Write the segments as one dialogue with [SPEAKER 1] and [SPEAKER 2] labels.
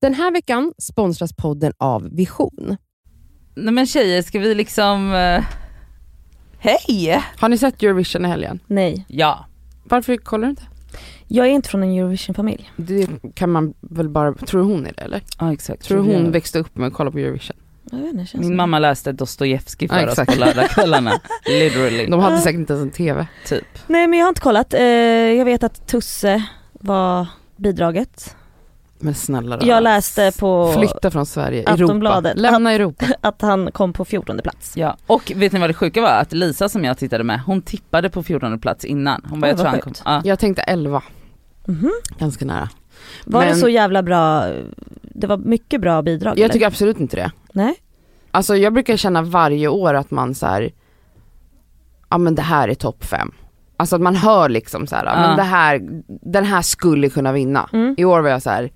[SPEAKER 1] Den här veckan sponsras podden av Vision.
[SPEAKER 2] Nej men tjejer, ska vi liksom... eh, Hej!
[SPEAKER 3] Har ni sett Eurovision i helgen?
[SPEAKER 4] Nej,
[SPEAKER 2] Ja.
[SPEAKER 3] Varför kollar du inte?
[SPEAKER 4] jag är inte från en Eurovision-familj.
[SPEAKER 3] Det kan man väl bara, tror hon är det eller?
[SPEAKER 2] Ja exakt.
[SPEAKER 3] Tror du hon växte upp med att kolla på Eurovision?
[SPEAKER 4] Jag vet inte, det känns
[SPEAKER 2] Min
[SPEAKER 4] som-
[SPEAKER 2] mamma läste Dostojevskij för
[SPEAKER 3] Ja,
[SPEAKER 2] oss
[SPEAKER 3] exakt.
[SPEAKER 2] på lördagskvällarna. Literally.
[SPEAKER 3] De hade säkert inte ens en TV.
[SPEAKER 2] Typ.
[SPEAKER 4] Nej men jag har inte kollat. Eh, Jag vet att Tusse var bidraget.
[SPEAKER 3] Men snälla rara.
[SPEAKER 4] Jag läste på
[SPEAKER 3] Flytta från Sverige, Europa.
[SPEAKER 4] Aftonbladet.
[SPEAKER 3] Lämna Europa.
[SPEAKER 4] att han kom på 14 plats.
[SPEAKER 2] Ja. Och vet ni vad det sjuka var? Att Lisa som jag tittade med, hon tippade på 14 plats innan. Hon bara,
[SPEAKER 4] Oj,
[SPEAKER 2] jag
[SPEAKER 4] vad
[SPEAKER 2] tror han kom.
[SPEAKER 4] sjukt.
[SPEAKER 2] Ja.
[SPEAKER 3] Jag tänkte 11,
[SPEAKER 4] Mhm.
[SPEAKER 3] ganska nära.
[SPEAKER 4] Var det
[SPEAKER 3] Men-
[SPEAKER 4] så jävla bra? Det var mycket bra bidrag
[SPEAKER 3] Jag
[SPEAKER 4] eller?
[SPEAKER 3] tycker absolut inte det.
[SPEAKER 4] Nej.
[SPEAKER 3] Alltså jag brukar känna varje år att man så här, ja men det här är topp fem. Alltså att man hör liksom så här, ja.
[SPEAKER 2] Ja.
[SPEAKER 3] men det här, den här skulle kunna vinna.
[SPEAKER 4] Mm.
[SPEAKER 3] I år var jag så här.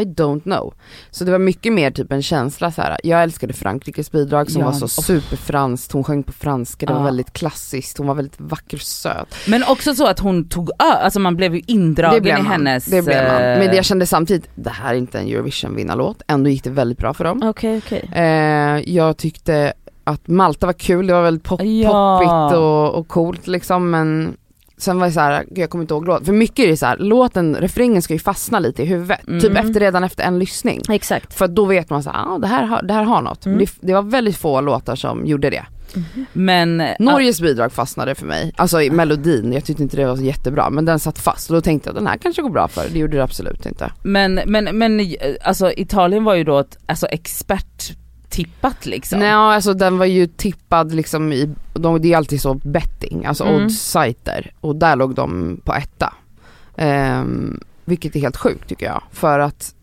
[SPEAKER 3] I don't know. Så det var mycket mer typ en känsla så här. jag älskade Frankrikes bidrag som
[SPEAKER 2] Ja.
[SPEAKER 3] var så superfranskt, hon sjöng på franska, det
[SPEAKER 2] Ja.
[SPEAKER 3] var väldigt klassiskt, hon var väldigt vacker och söt.
[SPEAKER 2] Men också så att hon tog ö, alltså man blev ju indragen i
[SPEAKER 3] man.
[SPEAKER 2] hennes...
[SPEAKER 3] det blev man.
[SPEAKER 2] eh,
[SPEAKER 3] Men jag kände samtidigt, det här är inte en Eurovision-vinnarlåt, ändå gick det väldigt bra för dem.
[SPEAKER 4] Okej okej.
[SPEAKER 3] Eh, jag tyckte att Malta var kul, det var väldigt pop-
[SPEAKER 2] Ja.
[SPEAKER 3] poppigt och, och coolt liksom men sen var det så här, gud, jag kommer inte ihåg låt. För mycket är det så här, låten, refrängen ska ju fastna lite i huvudet.
[SPEAKER 2] Mm.
[SPEAKER 3] Typ efter, redan efter en lyssning.
[SPEAKER 4] Exakt.
[SPEAKER 3] För då vet man så här, ah, det, här har, det här har något.
[SPEAKER 4] Mm.
[SPEAKER 3] Men Det, det var väldigt få låtar som gjorde det.
[SPEAKER 2] Men,
[SPEAKER 3] Norges bidrag fastnade för mig, alltså i melodin, jag tyckte inte det var så jättebra men den satt fast och då tänkte jag den här kanske går bra för, det gjorde det absolut inte.
[SPEAKER 2] men, men, men eh, alltså Italien var ju då ett alltså, experttippat liksom.
[SPEAKER 3] Nej alltså den var ju tippad liksom i, de, det är alltid så betting, alltså
[SPEAKER 4] Mm.
[SPEAKER 3] odds-sajter och där låg de på etta. Ehm, vilket är helt sjukt tycker jag för att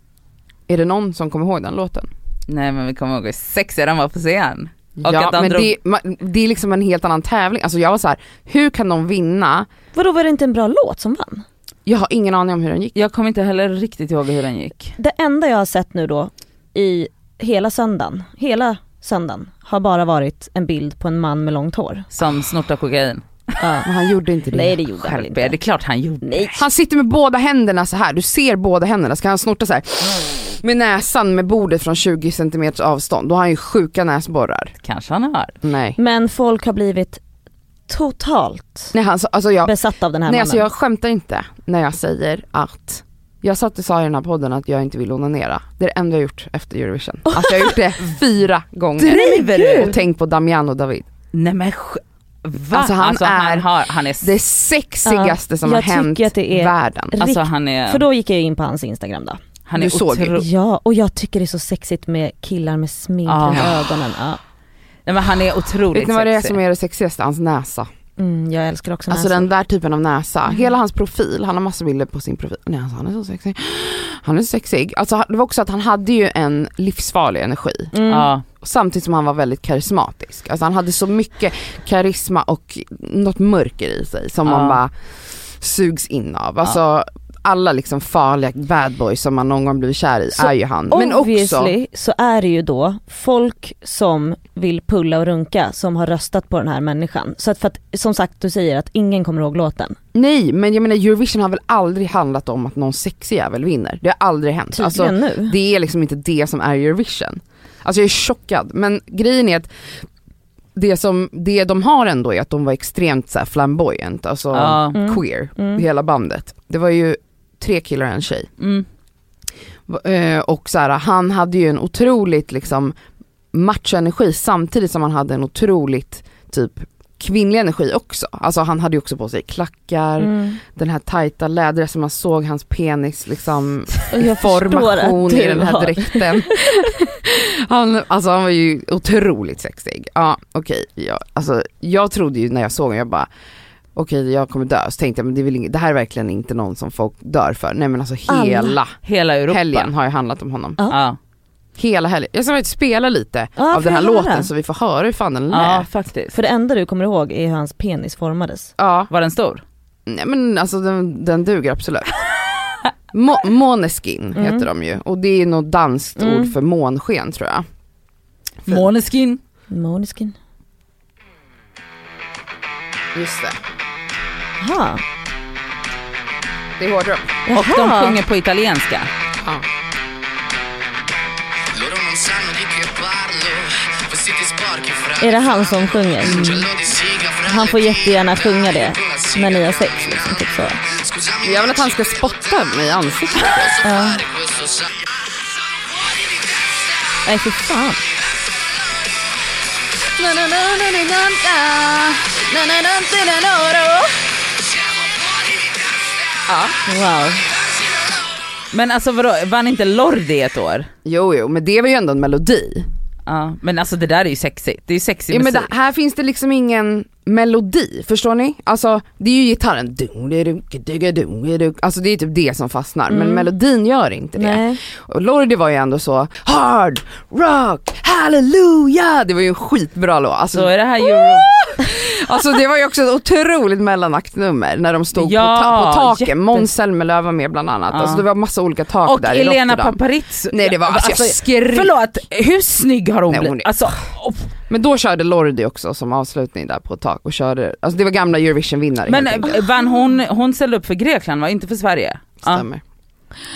[SPEAKER 3] är det någon som kommer ihåg den låten?
[SPEAKER 2] Nej men vi kommer ihåg hur sexig den var på scen. Och
[SPEAKER 3] ja
[SPEAKER 2] att de
[SPEAKER 3] men
[SPEAKER 2] drog-
[SPEAKER 3] det, man, det är liksom en helt annan tävling, alltså jag var så här: hur kan de vinna?
[SPEAKER 4] Vadå var det inte en bra låt som vann?
[SPEAKER 3] Jag har ingen aning om hur den gick.
[SPEAKER 2] Jag kommer inte heller riktigt ihåg hur den gick.
[SPEAKER 4] Det enda jag har sett nu då i hela söndagen, hela söndagen har bara varit en bild på en man med långt hår.
[SPEAKER 2] Som snortar kokain.
[SPEAKER 4] Ja.
[SPEAKER 3] Men han gjorde inte det.
[SPEAKER 4] Nej det gjorde han väl
[SPEAKER 2] Skärp er, det är
[SPEAKER 4] inte.
[SPEAKER 2] klart han gjorde.
[SPEAKER 4] Nej.
[SPEAKER 3] Han sitter med båda händerna så här. du ser båda händerna, ska han snorta så här med näsan med bordet från 20 cm avstånd, då har han ju sjuka näsborrar.
[SPEAKER 2] Kanske han har.
[SPEAKER 3] Nej.
[SPEAKER 4] Men folk har blivit totalt
[SPEAKER 3] Nej, han, sa- alltså jag,
[SPEAKER 4] besatta av den här
[SPEAKER 3] Nej
[SPEAKER 4] mannen.
[SPEAKER 3] alltså jag skämtar inte när jag säger att jag satt och sa i den här podden att jag inte vill onanera. Det är det enda jag gjort efter Eurovision. Att jag har gjort det fyra gånger.
[SPEAKER 2] Driver
[SPEAKER 3] Och tänk på Damian och David.
[SPEAKER 2] Nej men sk- Va?
[SPEAKER 3] Alltså, han är-
[SPEAKER 2] han, har, han är... s-
[SPEAKER 3] Det sexigaste som
[SPEAKER 4] jag
[SPEAKER 3] har hänt
[SPEAKER 4] tycker att det är-
[SPEAKER 3] världen.
[SPEAKER 4] Rikt-
[SPEAKER 2] Alltså han
[SPEAKER 3] eh.
[SPEAKER 2] är...
[SPEAKER 4] För då gick jag in på hans instagram då.
[SPEAKER 2] han är
[SPEAKER 3] Du såg ju.
[SPEAKER 2] otro-
[SPEAKER 4] Ja och jag tycker det är så sexigt med killar med smink
[SPEAKER 2] Ah.
[SPEAKER 4] runt ögonen. Ja.
[SPEAKER 2] Nej men han är otroligt
[SPEAKER 3] Vet ni vad det är
[SPEAKER 2] sexig.
[SPEAKER 3] som är det sexigaste? Hans näsa.
[SPEAKER 4] Mm, jag älskar också
[SPEAKER 3] Alltså
[SPEAKER 4] näsor.
[SPEAKER 3] den där typen av näsa.
[SPEAKER 4] Mm.
[SPEAKER 3] Hela hans profil, han har massa bilder på sin profil. Nej alltså han är så sexig. Han är så sexig. Alltså det var också att han hade ju en livsfarlig energi.
[SPEAKER 4] Mm.
[SPEAKER 2] Ja.
[SPEAKER 3] samtidigt som han var väldigt karismatisk. Alltså han hade så mycket karisma och något mörker i sig som
[SPEAKER 2] Ja.
[SPEAKER 3] man bara sugs in av. Alltså alla liksom farliga bad boys som man någon gång blivit kär i
[SPEAKER 4] Så
[SPEAKER 3] är ju han. Men också,
[SPEAKER 4] Obviously så är det ju då folk som vill pulla och runka som har röstat på den här människan. Så att, för att som sagt du säger att ingen kommer ihåg låten.
[SPEAKER 3] nej men jag menar Eurovision har väl aldrig handlat om att någon sexig jävel vinner. Det har aldrig hänt.
[SPEAKER 4] Tydligen
[SPEAKER 3] Alltså,
[SPEAKER 4] nu.
[SPEAKER 3] det är liksom inte det som är Eurovision. Alltså jag är chockad men grejen är att det som det de har ändå är att de var extremt så här flamboyant, alltså
[SPEAKER 2] Ja.
[SPEAKER 4] Mm.
[SPEAKER 3] queer,
[SPEAKER 4] Mm.
[SPEAKER 3] hela bandet. Det var ju tre killar och en tjej.
[SPEAKER 2] Mm.
[SPEAKER 3] Eh, Och så här, han hade ju en otroligt liksom machoenergi samtidigt som han hade en otroligt typ kvinnlig energi också. Alltså han hade ju också på sig klackar,
[SPEAKER 4] Mm.
[SPEAKER 3] den här tajta läderdressen, man såg hans penis liksom
[SPEAKER 4] Och Jag förstår att
[SPEAKER 3] formation
[SPEAKER 4] du
[SPEAKER 3] i den här
[SPEAKER 4] har-
[SPEAKER 3] dräkten. han, alltså han var ju otroligt sexig. Ja okej, ja, alltså, jag trodde ju när jag såg honom, jag bara okej jag kommer dö. Så tänkte jag men det, är väl ing- det här är verkligen inte någon som folk dör för. Nej men alltså
[SPEAKER 4] Alla.
[SPEAKER 3] hela
[SPEAKER 2] Hela Europa.
[SPEAKER 3] helgen har ju handlat om honom.
[SPEAKER 2] Ja,
[SPEAKER 3] Hela helgen. Jag ska faktiskt spela lite
[SPEAKER 4] Ja,
[SPEAKER 3] av den här
[SPEAKER 4] får jag höra?
[SPEAKER 3] låten så vi får höra hur fan den
[SPEAKER 2] ja
[SPEAKER 3] lät.
[SPEAKER 2] faktiskt.
[SPEAKER 4] För det enda du kommer ihåg är hur hans penis formades.
[SPEAKER 3] Ja,
[SPEAKER 2] Var den stor?
[SPEAKER 3] nej men alltså den, den duger absolut. Mo- Måneskin
[SPEAKER 4] Mm.
[SPEAKER 3] heter de ju och det är något danskt
[SPEAKER 4] Mm.
[SPEAKER 3] ord för månsken tror jag. Fint.
[SPEAKER 2] Måneskin.
[SPEAKER 4] Måneskin.
[SPEAKER 3] Just det,
[SPEAKER 4] Jaha.
[SPEAKER 3] det är hårdrock.
[SPEAKER 2] Och de
[SPEAKER 4] Jaha.
[SPEAKER 2] sjunger på italienska.
[SPEAKER 3] Ja.
[SPEAKER 4] Är det han som sjunger? Han får jättegärna sjunga det när ni har sex. Liksom, typ så.
[SPEAKER 3] Jag vill att han ska spotta mig i ansiktet.
[SPEAKER 4] Ja. Nej fy fan. Wow.
[SPEAKER 2] Men alltså vadå, vann inte Lordi ett år?
[SPEAKER 3] Jo, jo, men det var ju ändå en melodi.
[SPEAKER 2] Ja. Men alltså det där är ju sexigt, det är ju sexig
[SPEAKER 3] Ja, men
[SPEAKER 2] musik.
[SPEAKER 3] det, här finns det liksom ingen melodi, förstår ni? Alltså det är ju gitarren, Dun-di-dun-ki-dugga-dun-di-dun. alltså det är typ det som fastnar,
[SPEAKER 2] Mm.
[SPEAKER 3] men melodin gör inte det.
[SPEAKER 4] Nej.
[SPEAKER 3] Och Lordi var ju ändå så, hard rock, hallelujah, det var ju en skitbra låt.
[SPEAKER 2] Så
[SPEAKER 3] Alltså,
[SPEAKER 2] är det här euro...
[SPEAKER 3] alltså det var ju också ett otroligt mellanaktsnummer när de stod
[SPEAKER 2] Ja,
[SPEAKER 3] på, ta- på taken,
[SPEAKER 2] jätte-
[SPEAKER 3] Måns Zelmerlöw var med bland annat,
[SPEAKER 2] Ja.
[SPEAKER 3] alltså det var massa olika tak
[SPEAKER 2] Och
[SPEAKER 3] där i
[SPEAKER 2] Elena
[SPEAKER 3] Rotterdam.
[SPEAKER 2] Paparizou.
[SPEAKER 3] Nej det var, alltså, jag skrek.
[SPEAKER 2] Förlåt, hur snygg har hon
[SPEAKER 3] Nej,
[SPEAKER 2] blivit?
[SPEAKER 3] hon är- Ah,
[SPEAKER 2] Alltså, oh,
[SPEAKER 3] Men då körde Lordi också som avslutning där på ett tak och körde, alltså det var gamla Eurovision-vinnare
[SPEAKER 2] men
[SPEAKER 3] helt enkelt.
[SPEAKER 2] eh, vann hon, hon ställde upp för Grekland va, inte för Sverige? Ja.
[SPEAKER 3] Stämmer.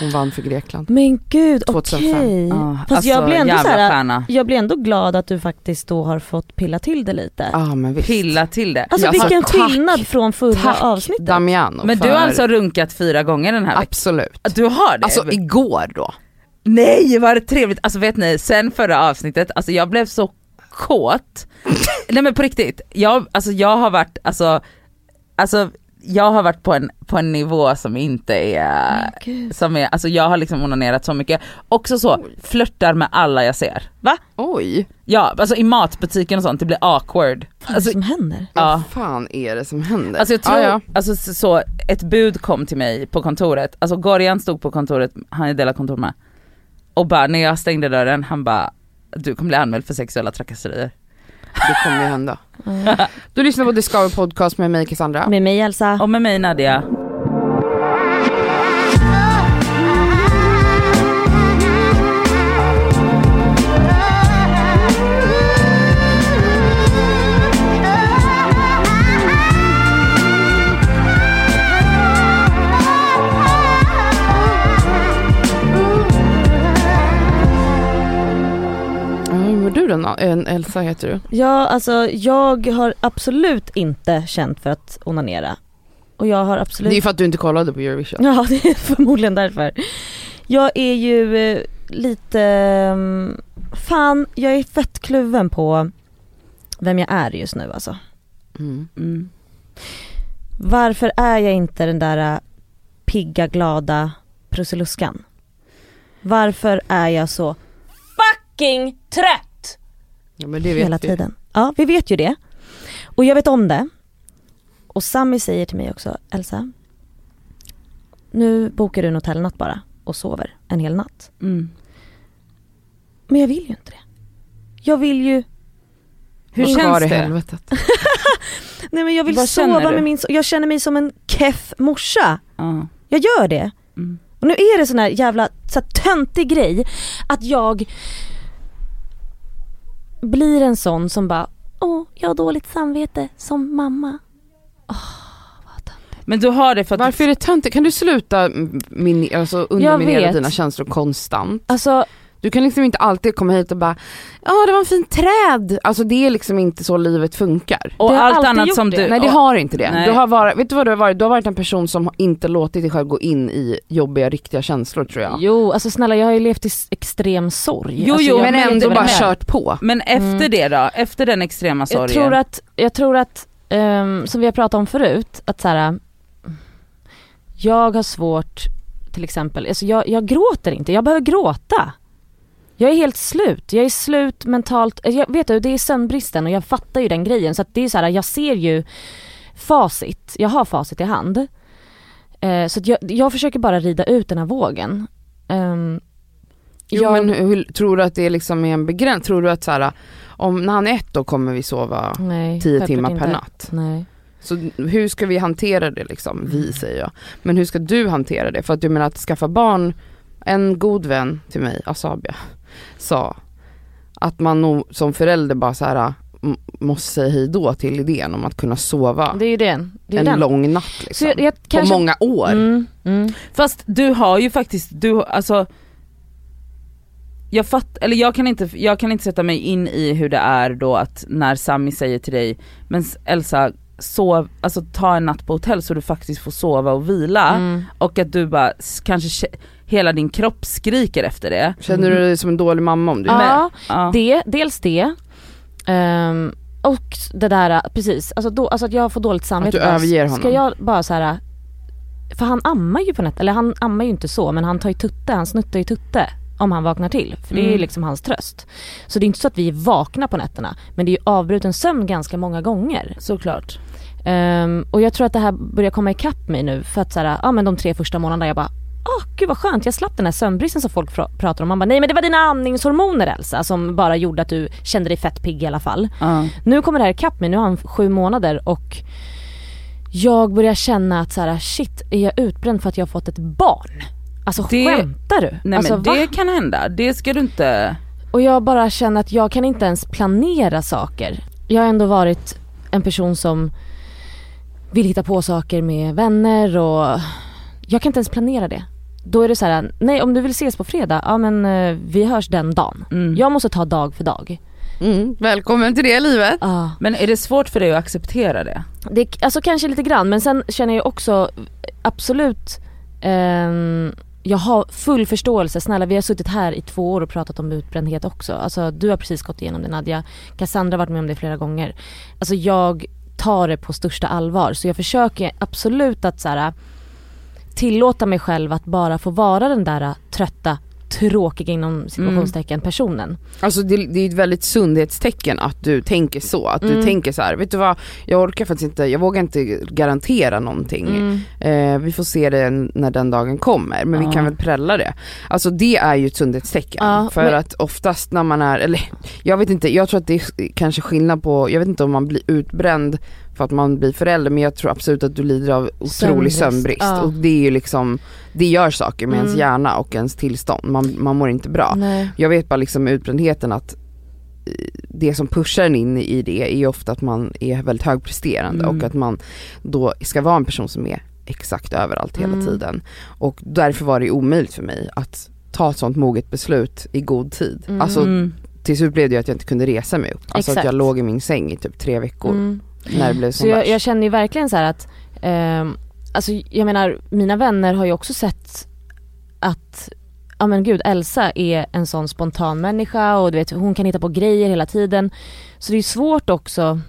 [SPEAKER 3] Hon vann för Grekland.
[SPEAKER 4] Men gud,
[SPEAKER 3] 2005.
[SPEAKER 4] okej.
[SPEAKER 2] Ja,
[SPEAKER 4] Fast jag blir ändå
[SPEAKER 2] jävla
[SPEAKER 4] så här,
[SPEAKER 2] stjärna.
[SPEAKER 4] jag blir ändå glad att du faktiskt då har fått pilla till det lite.
[SPEAKER 3] Ja ah, men visst.
[SPEAKER 2] Pilla till det.
[SPEAKER 4] Alltså
[SPEAKER 3] Ja,
[SPEAKER 4] vilken
[SPEAKER 3] alltså, tack.
[SPEAKER 4] skillnad från förra
[SPEAKER 3] Tack
[SPEAKER 4] avsnittet.
[SPEAKER 3] Damiano
[SPEAKER 2] Men
[SPEAKER 3] för...
[SPEAKER 2] du har alltså runkat fyra gånger den här veckan?
[SPEAKER 3] Absolut.
[SPEAKER 2] Du har det?
[SPEAKER 3] Alltså igår då.
[SPEAKER 2] Nej vad det trevligt, alltså vet ni sen förra avsnittet, alltså jag blev så kåt. Nej men på riktigt, jag, alltså, jag har varit, alltså, alltså jag har varit på en, på en nivå som inte är,
[SPEAKER 4] Gud.
[SPEAKER 2] som är, alltså jag har liksom onanerat så mycket. Också så, flörtar med alla jag ser. Va?
[SPEAKER 3] Oj,
[SPEAKER 2] Ja, alltså i matbutiken och sånt, det blir awkward.
[SPEAKER 4] Vad är det
[SPEAKER 2] Alltså,
[SPEAKER 4] som händer?
[SPEAKER 2] ja.
[SPEAKER 3] vad fan är det som händer?
[SPEAKER 2] Alltså jag tror,
[SPEAKER 3] Ah, ja.
[SPEAKER 2] alltså så, så, ett bud kom till mig på kontoret, alltså Gorjan stod på kontoret, han jag delar kontor med, och bara när jag stängde dörren, han bara du kommer bli anmäld för sexuella trakasserier.
[SPEAKER 3] Det kommer ju hända.
[SPEAKER 4] Mm.
[SPEAKER 3] Du lyssnar på Discover Podcast med mig Cassandra.
[SPEAKER 4] Med mig Elsa.
[SPEAKER 2] Och med mig Nadia.
[SPEAKER 3] Ja, hur mår du då? Na- En- Elsa heter du.
[SPEAKER 4] Ja, alltså jag har absolut inte känt för att onanera. Och jag har
[SPEAKER 3] Det
[SPEAKER 4] absolut...
[SPEAKER 3] är ju för att du inte kollade på Eurovision.
[SPEAKER 4] Ja, det är förmodligen därför. Jag är ju eh, lite... mm, Fan, jag är fett kluven på vem jag är just nu alltså.
[SPEAKER 3] Mm.
[SPEAKER 2] Mm.
[SPEAKER 4] Varför är jag inte den där eh, pigga, glada Prussiluskan? Varför är jag så fucking trött
[SPEAKER 3] Ja, men det vet
[SPEAKER 4] hela
[SPEAKER 3] vi.
[SPEAKER 4] tiden? Ja, vi vet ju det. Och jag vet om det. Och Sammy säger till mig också, Elsa, nu bokar du en hotellnatt bara och sover en hel natt.
[SPEAKER 2] Mm.
[SPEAKER 4] Men jag vill ju inte det. Jag vill ju,
[SPEAKER 2] Hur
[SPEAKER 3] Och
[SPEAKER 2] känns
[SPEAKER 3] kvar i
[SPEAKER 2] det?
[SPEAKER 3] helvetet.
[SPEAKER 4] nej men jag vill
[SPEAKER 2] Vad känner
[SPEAKER 4] sova
[SPEAKER 2] du?
[SPEAKER 4] med min so- Jag känner mig som en keff morsa.
[SPEAKER 2] Ja.
[SPEAKER 4] Jag gör det.
[SPEAKER 2] Mm.
[SPEAKER 4] Och nu är det sån här jävla så här, töntig grej att jag blir en sån som bara Åh, jag har dåligt samvete som mamma.
[SPEAKER 2] Men du har det för att
[SPEAKER 3] Varför är det töntigt? Kan du sluta mm, min, alltså, underminera
[SPEAKER 4] vet.
[SPEAKER 3] dina känslor konstant?
[SPEAKER 4] Alltså,
[SPEAKER 3] Du kan liksom inte alltid komma hit och bara ja det var en fin träd. Alltså det är liksom inte så livet funkar.
[SPEAKER 2] och
[SPEAKER 4] det har
[SPEAKER 2] allt
[SPEAKER 4] alltid
[SPEAKER 2] annat
[SPEAKER 4] gjort
[SPEAKER 2] som
[SPEAKER 4] det.
[SPEAKER 2] du...
[SPEAKER 3] Nej det
[SPEAKER 2] och-
[SPEAKER 3] har inte det.
[SPEAKER 2] Nej.
[SPEAKER 3] Du har varit, vet du vad du har varit? Du har varit en person som har inte låtit dig själv gå in i jobbiga riktiga känslor tror jag.
[SPEAKER 4] jo, alltså snälla jag har ju levt i s- extrem sorg.
[SPEAKER 2] Jo,
[SPEAKER 4] alltså,
[SPEAKER 2] jo,
[SPEAKER 4] jag
[SPEAKER 3] men
[SPEAKER 4] vet
[SPEAKER 3] ändå
[SPEAKER 4] vad
[SPEAKER 3] bara
[SPEAKER 4] det är.
[SPEAKER 3] kört på.
[SPEAKER 2] Men efter det då? Efter den extrema sorgen?
[SPEAKER 4] Mm. Jag tror att, jag tror att ehm, som vi har pratat om förut, att så här, mm, jag har svårt till exempel, alltså jag, jag gråter inte, jag behöver gråta. Jag är helt slut, jag är slut mentalt, alltså jag, vet du det är sömnbristen och jag fattar ju den grejen så att det är så här, jag ser ju facit, jag har facit i hand. Eh, så att jag, jag försöker bara rida ut den här vågen. Ehm,
[SPEAKER 3] Jo,
[SPEAKER 4] jag-
[SPEAKER 3] men hur, tror du att det är liksom är en begräns? Tror du att så här, om, när han är ett då kommer vi sova
[SPEAKER 4] nej,
[SPEAKER 3] tio
[SPEAKER 4] självklart
[SPEAKER 3] timmar per
[SPEAKER 4] Mm. inte.
[SPEAKER 3] natt?
[SPEAKER 4] Nej.
[SPEAKER 3] Så hur ska vi hantera det liksom?
[SPEAKER 4] Mm.
[SPEAKER 3] Vi säger jag. Men hur ska du hantera det? För att du menar att skaffa barn, en god vän till mig, Asabia, sa att man nog som förälder bara så här m- måste säga hej då till idén om att kunna sova
[SPEAKER 4] Det är ju den. Det är
[SPEAKER 3] en
[SPEAKER 4] den.
[SPEAKER 3] lång natt liksom.
[SPEAKER 4] så jag, jag
[SPEAKER 3] på
[SPEAKER 4] kanske
[SPEAKER 3] många år.
[SPEAKER 4] Mm, mm.
[SPEAKER 2] Fast du har ju faktiskt, du, alltså jag, fatt, eller jag, kan inte, jag kan inte sätta mig in i hur det är då att när Sami säger till dig, men s- Elsa sov, alltså ta en natt på hotell så du faktiskt får sova och vila
[SPEAKER 4] Mm.
[SPEAKER 2] och att du bara s- kanske kä- hela din kropp skriker efter det.
[SPEAKER 3] Känner du dig som en dålig mamma om du
[SPEAKER 2] Men-
[SPEAKER 4] Ja,
[SPEAKER 2] Ja.
[SPEAKER 4] det, dels det. Ehm, och det där, precis, alltså, då, alltså att jag får dåligt samvete.
[SPEAKER 3] Att du överger
[SPEAKER 4] Ska
[SPEAKER 3] honom.
[SPEAKER 4] jag bara så här. för han ammar ju på nätet, eller han ammar ju inte så men han tar ju tutte, han snuttar ju tutte om han vaknar till. För det är ju
[SPEAKER 2] Mm.
[SPEAKER 4] liksom hans tröst. Så det är inte så att vi är vakna på nätterna men det är ju avbruten sömn ganska många gånger.
[SPEAKER 2] Såklart.
[SPEAKER 4] Ehm, och jag tror att det här börjar komma ikapp mig nu för att så här, ja men de tre första månaderna jag bara Åh gud vad skönt, jag slapp den här sömnbristen som folk pra- pratar om. Man bara, nej men det var dina amningshormoner Elsa som bara gjorde att du kände dig fett pigg i alla fall.
[SPEAKER 2] Ja.
[SPEAKER 4] Nu kommer det här ikapp mig, nu har han sju månader och jag börjar känna att så här, shit är jag utbränd för att jag har fått ett barn? Alltså
[SPEAKER 2] Det-
[SPEAKER 4] skämtar du?
[SPEAKER 2] Nej
[SPEAKER 4] alltså,
[SPEAKER 2] men
[SPEAKER 4] va?
[SPEAKER 2] det kan hända, det ska du inte...
[SPEAKER 4] Och jag bara känner att jag kan inte ens planera saker. Jag har ändå varit en person som vill hitta på saker med vänner och jag kan inte ens planera det. Då är det så här, nej om du vill ses på fredag, ja men eh, vi hörs den dagen.
[SPEAKER 2] Mm.
[SPEAKER 4] Jag måste ta dag för dag.
[SPEAKER 3] Mm, välkommen till det livet.
[SPEAKER 4] Ah.
[SPEAKER 2] Men är det svårt för dig att acceptera det?
[SPEAKER 4] Det, alltså kanske lite grann men sen känner jag också absolut ehm, jag har full förståelse, snälla vi har suttit här i två år och pratat om utbrändhet också. Alltså du har precis gått igenom det Nadja, Cassandra har varit med om det flera gånger. Alltså jag tar det på största allvar så jag försöker absolut att så här, tillåta mig själv att bara få vara den där eh, trötta, tråkiga inom situationstecken personen.
[SPEAKER 3] Alltså det, det är ett väldigt sundhetstecken att du tänker så, att du
[SPEAKER 4] Mm.
[SPEAKER 3] tänker så här, vet du vad, jag orkar faktiskt inte, jag vågar inte garantera någonting.
[SPEAKER 4] Mm.
[SPEAKER 3] Eh, vi får se det när den dagen kommer, men
[SPEAKER 2] Ja.
[SPEAKER 3] vi kan väl prälla det. Alltså det är ju ett sundhetstecken.
[SPEAKER 4] Ja,
[SPEAKER 3] för
[SPEAKER 4] men-
[SPEAKER 3] att oftast när man är, eller jag vet inte, jag tror att det är kanske skillnad på, jag vet inte om man blir utbränd för att man blir förälder men jag tror absolut att du lider av otrolig
[SPEAKER 4] Sömnbrist.
[SPEAKER 3] sömnbrist.
[SPEAKER 4] Ja.
[SPEAKER 3] Och det är ju liksom, det gör saker med ens
[SPEAKER 4] Mm.
[SPEAKER 3] hjärna och ens tillstånd, man, man mår inte bra.
[SPEAKER 4] Nej.
[SPEAKER 3] Jag vet bara liksom med utbrändheten att eh, det som pushar en in i det är ju ofta att man är väldigt högpresterande
[SPEAKER 2] Mm.
[SPEAKER 3] och att man då ska vara en person som är exakt överallt hela
[SPEAKER 4] Mm.
[SPEAKER 3] tiden. Och därför var det ju omöjligt för mig att ta ett sånt moget beslut i god tid.
[SPEAKER 4] Mm.
[SPEAKER 3] Alltså till slut blev det ju att jag inte kunde resa mig upp. Alltså att
[SPEAKER 4] Exakt.
[SPEAKER 3] jag låg i min säng i typ tre veckor
[SPEAKER 4] Mm.
[SPEAKER 3] när det blev
[SPEAKER 4] Så
[SPEAKER 3] som
[SPEAKER 4] jag,
[SPEAKER 3] värst.
[SPEAKER 4] jag känner ju verkligen så här att, ehm, alltså jag menar mina vänner har ju också sett att, ja men gud Elsa är en sån spontan människa och du vet hon kan hitta på grejer hela tiden. Så det är ju svårt också.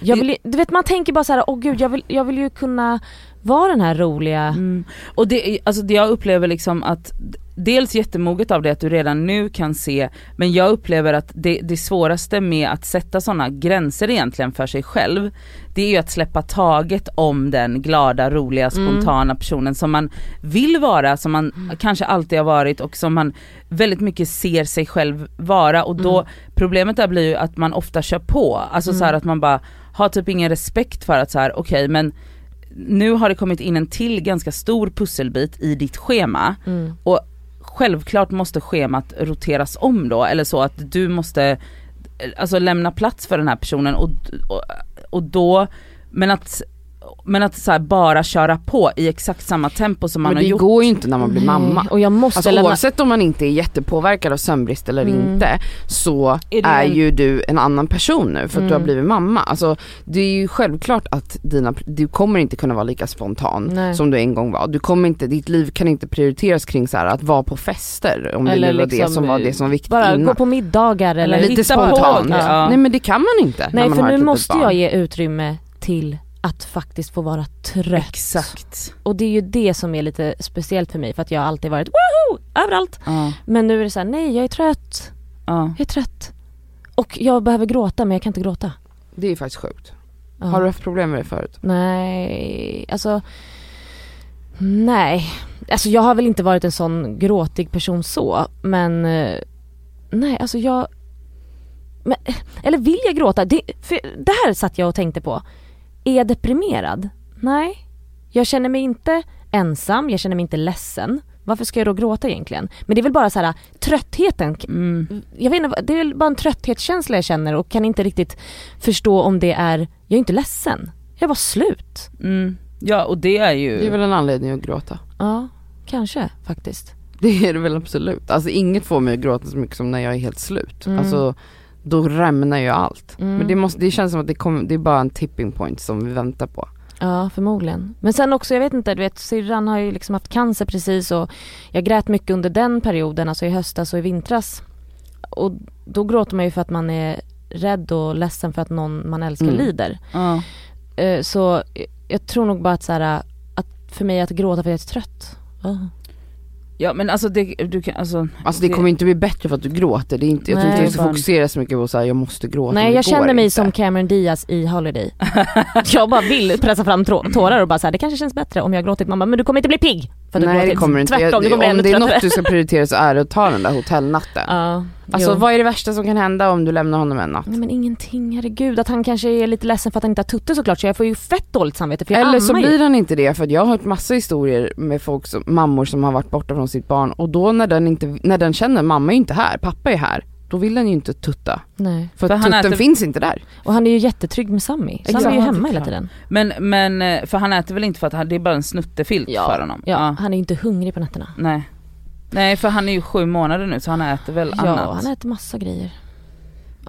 [SPEAKER 4] Jag vill, ju- du vet man tänker bara så här, åh gud jag vill, jag vill ju kunna vara den här roliga.
[SPEAKER 2] Mm. Och det, är- alltså det jag upplever liksom att d- dels jättemoget av det att du redan nu kan se, men jag upplever att det, det svåraste med att sätta sådana gränser egentligen för sig själv, det är ju att släppa taget om den glada, roliga, spontana personen som man vill vara, som man kanske alltid har varit och som man väldigt mycket ser sig själv vara och då, problemet där blir ju att man ofta kör på, alltså så här att man bara har typ ingen respekt för att så här, okej men nu har det kommit in en till ganska stor pusselbit i ditt schema
[SPEAKER 4] Mm.
[SPEAKER 2] och självklart måste schemat roteras om då eller så att du måste eh, alltså lämna plats för den här personen och, och, och då, men att, men att så här bara köra på i exakt samma tempo som man
[SPEAKER 3] men
[SPEAKER 2] har
[SPEAKER 3] det
[SPEAKER 2] gjort.
[SPEAKER 3] går ju inte när man blir mamma.
[SPEAKER 4] Nej, Och jag måste
[SPEAKER 3] Alltså
[SPEAKER 4] lämna,
[SPEAKER 3] oavsett om man inte är jättepåverkad av sömnbrist eller
[SPEAKER 4] Mm.
[SPEAKER 3] inte så
[SPEAKER 2] Är
[SPEAKER 3] är,
[SPEAKER 2] du en-
[SPEAKER 3] ju du en annan person nu för att du har
[SPEAKER 4] Mm.
[SPEAKER 3] blivit mamma. Alltså, det är ju självklart att dina, du kommer inte kunna vara lika spontan
[SPEAKER 4] Nej.
[SPEAKER 3] som du en gång var. Du kommer inte, ditt liv kan inte prioriteras kring så här, att vara på fester om
[SPEAKER 4] Eller
[SPEAKER 3] det nu var
[SPEAKER 4] liksom,
[SPEAKER 3] det som var det som var viktigt
[SPEAKER 4] bara gå
[SPEAKER 3] innan.
[SPEAKER 4] på middagar eller,
[SPEAKER 2] Eller-
[SPEAKER 3] Lite
[SPEAKER 2] hitta på,
[SPEAKER 3] spontant.
[SPEAKER 2] ja.
[SPEAKER 3] Nej men det kan man inte när
[SPEAKER 4] Nej
[SPEAKER 3] man
[SPEAKER 4] för
[SPEAKER 3] har typ ett litet
[SPEAKER 4] nu måste
[SPEAKER 3] barn.
[SPEAKER 4] jag ge utrymme till att faktiskt få vara trött.
[SPEAKER 2] Exakt.
[SPEAKER 4] Och det är ju det som är lite speciellt för mig för att jag har alltid varit woho! överallt.
[SPEAKER 2] Ja,
[SPEAKER 4] Men nu är det så här, nej jag är trött,
[SPEAKER 2] ja.
[SPEAKER 4] jag är trött. Och jag behöver gråta men jag kan inte gråta.
[SPEAKER 3] Det är faktiskt sjukt.
[SPEAKER 4] Ja.
[SPEAKER 3] Har du haft problem med det förut?
[SPEAKER 4] Nej, alltså nej. Alltså jag har väl inte varit en sån gråtig person så men eh, nej alltså jag men, eh, eller vill jag gråta? Det, för det här satt jag och tänkte på. Är jag deprimerad? Nej. Jag känner mig inte ensam, jag känner mig inte ledsen. Varför ska jag då gråta egentligen? Men det är väl bara så här tröttheten.
[SPEAKER 2] Mm.
[SPEAKER 4] Jag vet inte, det är väl bara en trötthetskänsla jag känner och kan inte riktigt förstå om det är, jag är inte ledsen. Jag var slut.
[SPEAKER 2] Mm. Ja och det är ju,
[SPEAKER 3] Det är väl en anledning att gråta.
[SPEAKER 4] Ja, kanske faktiskt.
[SPEAKER 3] Det är det väl absolut. Alltså inget får mig att gråta så mycket som när jag är helt slut.
[SPEAKER 4] Mm.
[SPEAKER 3] Alltså då rämnar ju allt.
[SPEAKER 4] Mm.
[SPEAKER 3] Men det, måste, det känns som att det, kom, det är bara en tipping point som vi väntar på.
[SPEAKER 4] Ja, förmodligen. Men sen också, jag vet inte, du vet syrran har ju liksom haft cancer precis och jag grät mycket under den perioden, alltså i höstas och i vintras. Och då gråter man ju för att man är rädd och ledsen för att någon man älskar
[SPEAKER 3] Mm.
[SPEAKER 4] lider. Eh, Så eh, jag tror nog bara att, så här, att för mig att gråta för att jag är trött. Ja.
[SPEAKER 2] Ja men alltså det, du kan, alltså,
[SPEAKER 3] Alltså det kommer inte bli bättre för att du gråter. Det är inte, jag tror
[SPEAKER 4] Nej.
[SPEAKER 3] inte du ska fokusera så mycket på så här, jag måste gråta. men
[SPEAKER 4] Nej
[SPEAKER 3] det
[SPEAKER 4] jag
[SPEAKER 3] går
[SPEAKER 4] känner mig
[SPEAKER 3] inte.
[SPEAKER 4] som Cameron Diaz i Holiday. jag bara vill pressa fram trå- tårar och bara så här, det kanske känns bättre om jag har gråtit. Man bara, men du kommer inte bli pigg för att du
[SPEAKER 3] Nej
[SPEAKER 4] gråtit.
[SPEAKER 3] det kommer inte.
[SPEAKER 4] Tvärtom,
[SPEAKER 3] Jag,
[SPEAKER 4] du kommer bli
[SPEAKER 3] om
[SPEAKER 4] ännu
[SPEAKER 3] det är
[SPEAKER 4] tröttare.
[SPEAKER 3] något du ska prioritera så är det att ta den där hotellnatten.
[SPEAKER 4] Ja,
[SPEAKER 3] Alltså
[SPEAKER 4] jo.
[SPEAKER 3] vad är det värsta som kan hända om du lämnar honom en natt?
[SPEAKER 4] Nej men ingenting, herregud. Att han kanske är lite ledsen för att han inte har tutte såklart så jag får ju fett dåligt samvete för jag
[SPEAKER 3] Eller så
[SPEAKER 4] ammar ju.
[SPEAKER 3] blir han inte det för att jag har hört massa historier med folk som, mammor som har varit borta från sitt barn och då när den, inte, när den känner mamma är inte här, pappa är här, då vill den ju inte tutta.
[SPEAKER 4] Nej.
[SPEAKER 3] För,
[SPEAKER 2] För
[SPEAKER 3] att
[SPEAKER 2] han
[SPEAKER 3] tutten
[SPEAKER 2] äter-
[SPEAKER 3] finns inte där.
[SPEAKER 4] Och han är ju jättetrygg med Sammy. Sammy är ju
[SPEAKER 3] Exakt.
[SPEAKER 4] hemma hela tiden.
[SPEAKER 2] men, men eh, för han äter väl inte för att han, det är bara en snuttefilt
[SPEAKER 4] Ja,
[SPEAKER 2] för honom?
[SPEAKER 4] Ja, han är ju inte hungrig på nätterna.
[SPEAKER 2] Nej. Nej för han är ju sju månader nu så han äter väl
[SPEAKER 4] Ja,
[SPEAKER 2] annat.
[SPEAKER 4] han äter massa grejer.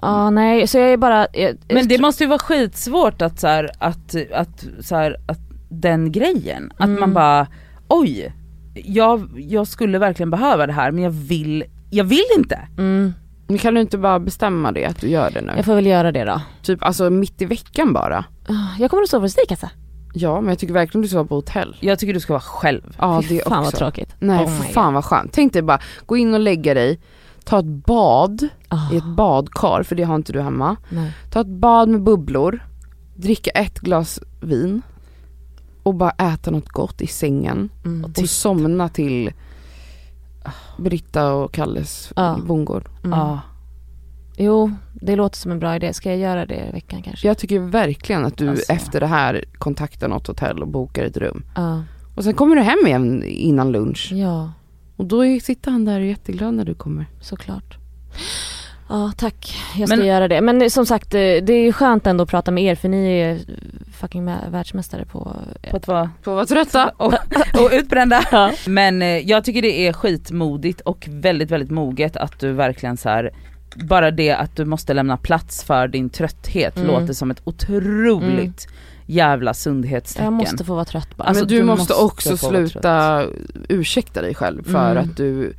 [SPEAKER 4] Ja, nej, så jag är bara... Jag,
[SPEAKER 2] Men det
[SPEAKER 4] jag,
[SPEAKER 2] måste ju vara skitsvårt att så här, att, att, så här, att den grejen, att
[SPEAKER 4] Mm.
[SPEAKER 2] man bara oj, jag, jag skulle verkligen behöva det här men jag vill, jag vill inte.
[SPEAKER 4] mm,
[SPEAKER 3] Men kan du inte bara bestämma det att du gör det nu?
[SPEAKER 4] jag får väl göra det då.
[SPEAKER 3] Typ alltså mitt i veckan bara.
[SPEAKER 4] Ah, Jag kommer att sova hos dig Kassa.
[SPEAKER 3] Ja men jag tycker verkligen du ska vara på hotell.
[SPEAKER 2] Jag tycker du ska vara själv.
[SPEAKER 3] Ja
[SPEAKER 4] Fy
[SPEAKER 3] det
[SPEAKER 4] fan vad
[SPEAKER 3] också.
[SPEAKER 4] tråkigt.
[SPEAKER 3] Nej
[SPEAKER 4] Oh my
[SPEAKER 3] för fan vad skönt. Tänk dig bara gå in och lägga dig, ta ett bad
[SPEAKER 4] Ah,
[SPEAKER 3] i ett badkar för det har inte du hemma.
[SPEAKER 4] nej.
[SPEAKER 3] Ta ett bad med bubblor, dricka ett glas vin och bara äta något gott i sängen
[SPEAKER 4] Mm.
[SPEAKER 3] och somna till Britta och Kalles
[SPEAKER 4] Ja.
[SPEAKER 3] bondgård.
[SPEAKER 4] Mm.
[SPEAKER 2] Ja.
[SPEAKER 4] Jo, det låter som en bra idé. Ska jag göra det i veckan kanske?
[SPEAKER 3] Jag tycker verkligen att du
[SPEAKER 2] Alltså.
[SPEAKER 3] efter det här kontaktar något hotell och bokar ett rum.
[SPEAKER 4] Ja.
[SPEAKER 3] Och sen kommer du hem igen innan lunch
[SPEAKER 4] ja.
[SPEAKER 3] och då är- sitter han där och är jätteglad när du kommer.
[SPEAKER 4] såklart. Ja tack, jag ska
[SPEAKER 2] Men-
[SPEAKER 4] göra det. Men som sagt eh, det är ju skönt ändå att prata med er för ni är ju fucking mä- världsmästare på...
[SPEAKER 2] På att vara
[SPEAKER 3] Får vara trötta.
[SPEAKER 2] och, och utbrända.
[SPEAKER 4] Ja.
[SPEAKER 2] Men eh, jag tycker det är skitmodigt och väldigt väldigt moget att du verkligen så här bara det att du måste lämna plats för din trötthet
[SPEAKER 4] Mm.
[SPEAKER 2] låter som ett otroligt jävla sundhetstecken.
[SPEAKER 4] Jag måste få vara trött bara.
[SPEAKER 2] Alltså,
[SPEAKER 3] Men du,
[SPEAKER 2] du
[SPEAKER 3] måste,
[SPEAKER 2] måste
[SPEAKER 3] också
[SPEAKER 2] få vara
[SPEAKER 3] sluta ursäkta dig själv för
[SPEAKER 4] Mm.
[SPEAKER 3] att du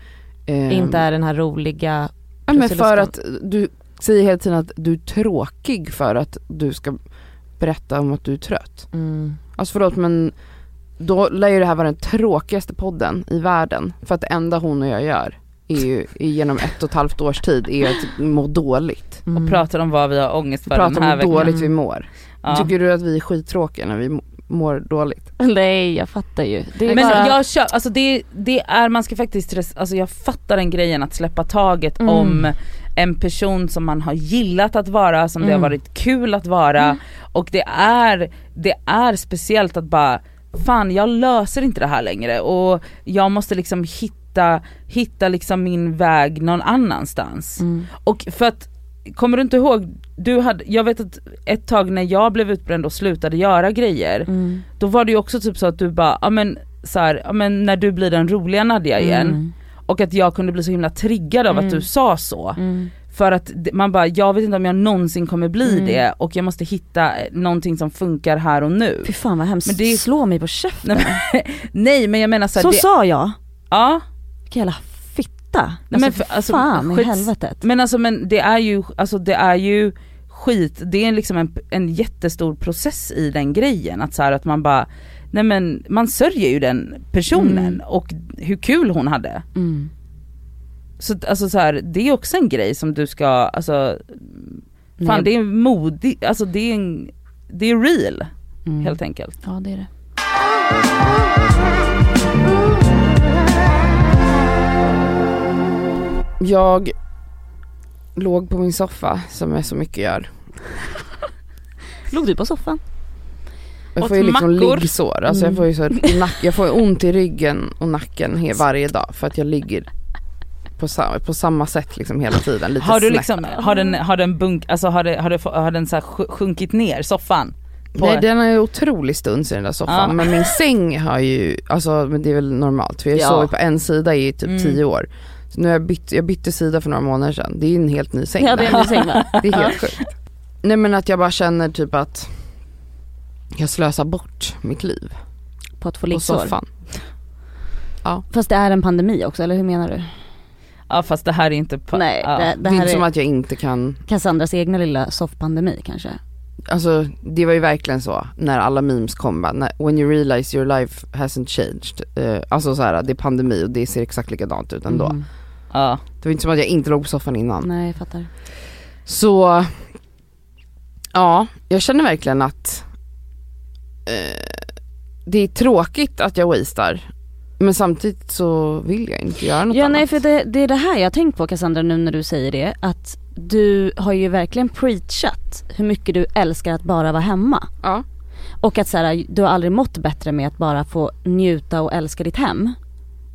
[SPEAKER 3] ehm,
[SPEAKER 4] Inte är den här roliga...
[SPEAKER 3] Ja men
[SPEAKER 4] Prussiluskan.
[SPEAKER 3] för att du säger hela tiden att du är tråkig för att du ska berätta om att du är trött.
[SPEAKER 4] Mm.
[SPEAKER 3] Alltså förlåt men då lär ju det här vara den tråkigaste podden i världen. För att det enda hon och jag gör är ju i- genom ett och ett halvt års tid är att må dåligt.
[SPEAKER 4] Mm.
[SPEAKER 2] Och pratar om vad vi har ångest för
[SPEAKER 3] Prata
[SPEAKER 2] den här
[SPEAKER 3] om hur
[SPEAKER 2] veckan.
[SPEAKER 3] dåligt vi mår.
[SPEAKER 2] Ja.
[SPEAKER 3] Tycker du att vi är skittråkiga när vi m- mår dåligt?
[SPEAKER 4] Nej jag fattar ju. Det är
[SPEAKER 2] Men
[SPEAKER 4] bara...
[SPEAKER 2] jag kör, alltså det, det är, man ska faktiskt, res- alltså jag fattar den grejen att släppa taget
[SPEAKER 4] Mm.
[SPEAKER 2] om en person som man har gillat att vara, som det
[SPEAKER 4] Mm.
[SPEAKER 2] har varit kul att vara och det är, det är speciellt att bara, fan jag löser inte det här längre och jag måste liksom hitta, hitta liksom min väg någon annanstans.
[SPEAKER 4] Mm.
[SPEAKER 2] Och för att, kommer du inte ihåg, du hade, jag vet att ett tag när jag blev utbränd och slutade göra grejer,
[SPEAKER 4] Mm.
[SPEAKER 2] då var det ju också typ så att du bara, ja men så här, ja men när du blir den roliga Nadja igen.
[SPEAKER 4] Mm.
[SPEAKER 2] Och att jag kunde bli så himla triggad av att
[SPEAKER 4] Mm.
[SPEAKER 2] du sa så.
[SPEAKER 4] Mm.
[SPEAKER 2] För att d- man bara, jag vet inte om jag någonsin kommer bli
[SPEAKER 4] Mm.
[SPEAKER 2] det och jag måste hitta eh, någonting som funkar här och nu.
[SPEAKER 4] Fy fan vad hemskt.
[SPEAKER 2] Men det är-
[SPEAKER 4] Slå mig på käften.
[SPEAKER 2] Nej, men, nej men jag menar
[SPEAKER 4] Så,
[SPEAKER 2] såhär, det,
[SPEAKER 4] sa jag.
[SPEAKER 2] ja.
[SPEAKER 4] Vilken jävla fitta.
[SPEAKER 2] Nej, men
[SPEAKER 4] alltså,
[SPEAKER 2] för- alltså,
[SPEAKER 4] fan i
[SPEAKER 2] skits-
[SPEAKER 4] helvetet.
[SPEAKER 2] Men alltså men det är ju, alltså det är ju skit, det är liksom en, en jättestor process i den grejen. Att så här, att man bara, nej men man sörjer ju den personen
[SPEAKER 4] Mm.
[SPEAKER 2] och hur kul hon hade.
[SPEAKER 4] Mm.
[SPEAKER 2] Så, att, alltså, så här, det är också en grej som du ska, alltså, fan
[SPEAKER 3] Nej.
[SPEAKER 2] det är modigt, alltså det är, en, det är real
[SPEAKER 3] Mm.
[SPEAKER 2] helt enkelt.
[SPEAKER 4] Ja det är det.
[SPEAKER 3] Jag låg på min soffa som jag så mycket gör.
[SPEAKER 4] Låg du på soffan?
[SPEAKER 3] Jag
[SPEAKER 2] Åt
[SPEAKER 3] får ju liksom
[SPEAKER 2] mackor.
[SPEAKER 3] liggsår, alltså jag
[SPEAKER 4] Mm.
[SPEAKER 3] får ju så i nack, jag får ont i ryggen och nacken he- varje dag för att jag ligger på, sa, på samma sätt liksom hela tiden. Lite
[SPEAKER 2] Har du
[SPEAKER 3] snett.
[SPEAKER 2] liksom, har den, har den bunk, alltså har, det, har, det, har den så här sj- sjunkit ner soffan? på
[SPEAKER 3] Nej den har ju otrolig stuns i den där soffan
[SPEAKER 2] Ja.
[SPEAKER 3] men min säng har ju, alltså men det är väl normalt för jag
[SPEAKER 2] Ja.
[SPEAKER 3] har sovit på en sida i typ
[SPEAKER 2] Mm.
[SPEAKER 3] tio år. Så nu har jag bytt, jag bytte sida för några månader sedan, det är ju en helt ny säng
[SPEAKER 4] Ja,
[SPEAKER 3] där.
[SPEAKER 4] det är en säng va?
[SPEAKER 3] Det är helt sjukt. Nej men att jag bara känner typ att jag slösar bort mitt liv
[SPEAKER 4] På att få
[SPEAKER 3] på
[SPEAKER 4] liggsår.
[SPEAKER 3] soffan.
[SPEAKER 4] Fast det är en pandemi också, eller hur menar du?
[SPEAKER 2] Ja fast det här är inte... pa-
[SPEAKER 4] Nej,
[SPEAKER 2] ja.
[SPEAKER 4] det,
[SPEAKER 3] Det,
[SPEAKER 4] det
[SPEAKER 3] är
[SPEAKER 4] här
[SPEAKER 3] inte
[SPEAKER 4] är
[SPEAKER 3] som att jag inte kan,
[SPEAKER 4] Cassandras egna lilla soffpandemi kanske.
[SPEAKER 3] alltså det var ju verkligen så när alla memes kom bara, när- when you realize your life hasn't changed. Eh, alltså så här, det är pandemi och det ser exakt likadant ut ändå.
[SPEAKER 4] Mm.
[SPEAKER 2] Ja.
[SPEAKER 3] Det var inte som att jag inte låg på soffan innan.
[SPEAKER 4] Nej, jag fattar.
[SPEAKER 3] Så ja, jag känner verkligen att eh, det är tråkigt att jag wastear. Men samtidigt så vill jag inte göra något
[SPEAKER 4] Ja
[SPEAKER 3] annat.
[SPEAKER 4] nej för det, det är det här jag har tänkt på Cassandra nu när du säger det att du har ju verkligen preachat hur mycket du älskar att bara vara hemma.
[SPEAKER 3] Ja.
[SPEAKER 4] Och att så här, du har aldrig mått bättre med att bara få njuta och älska ditt hem.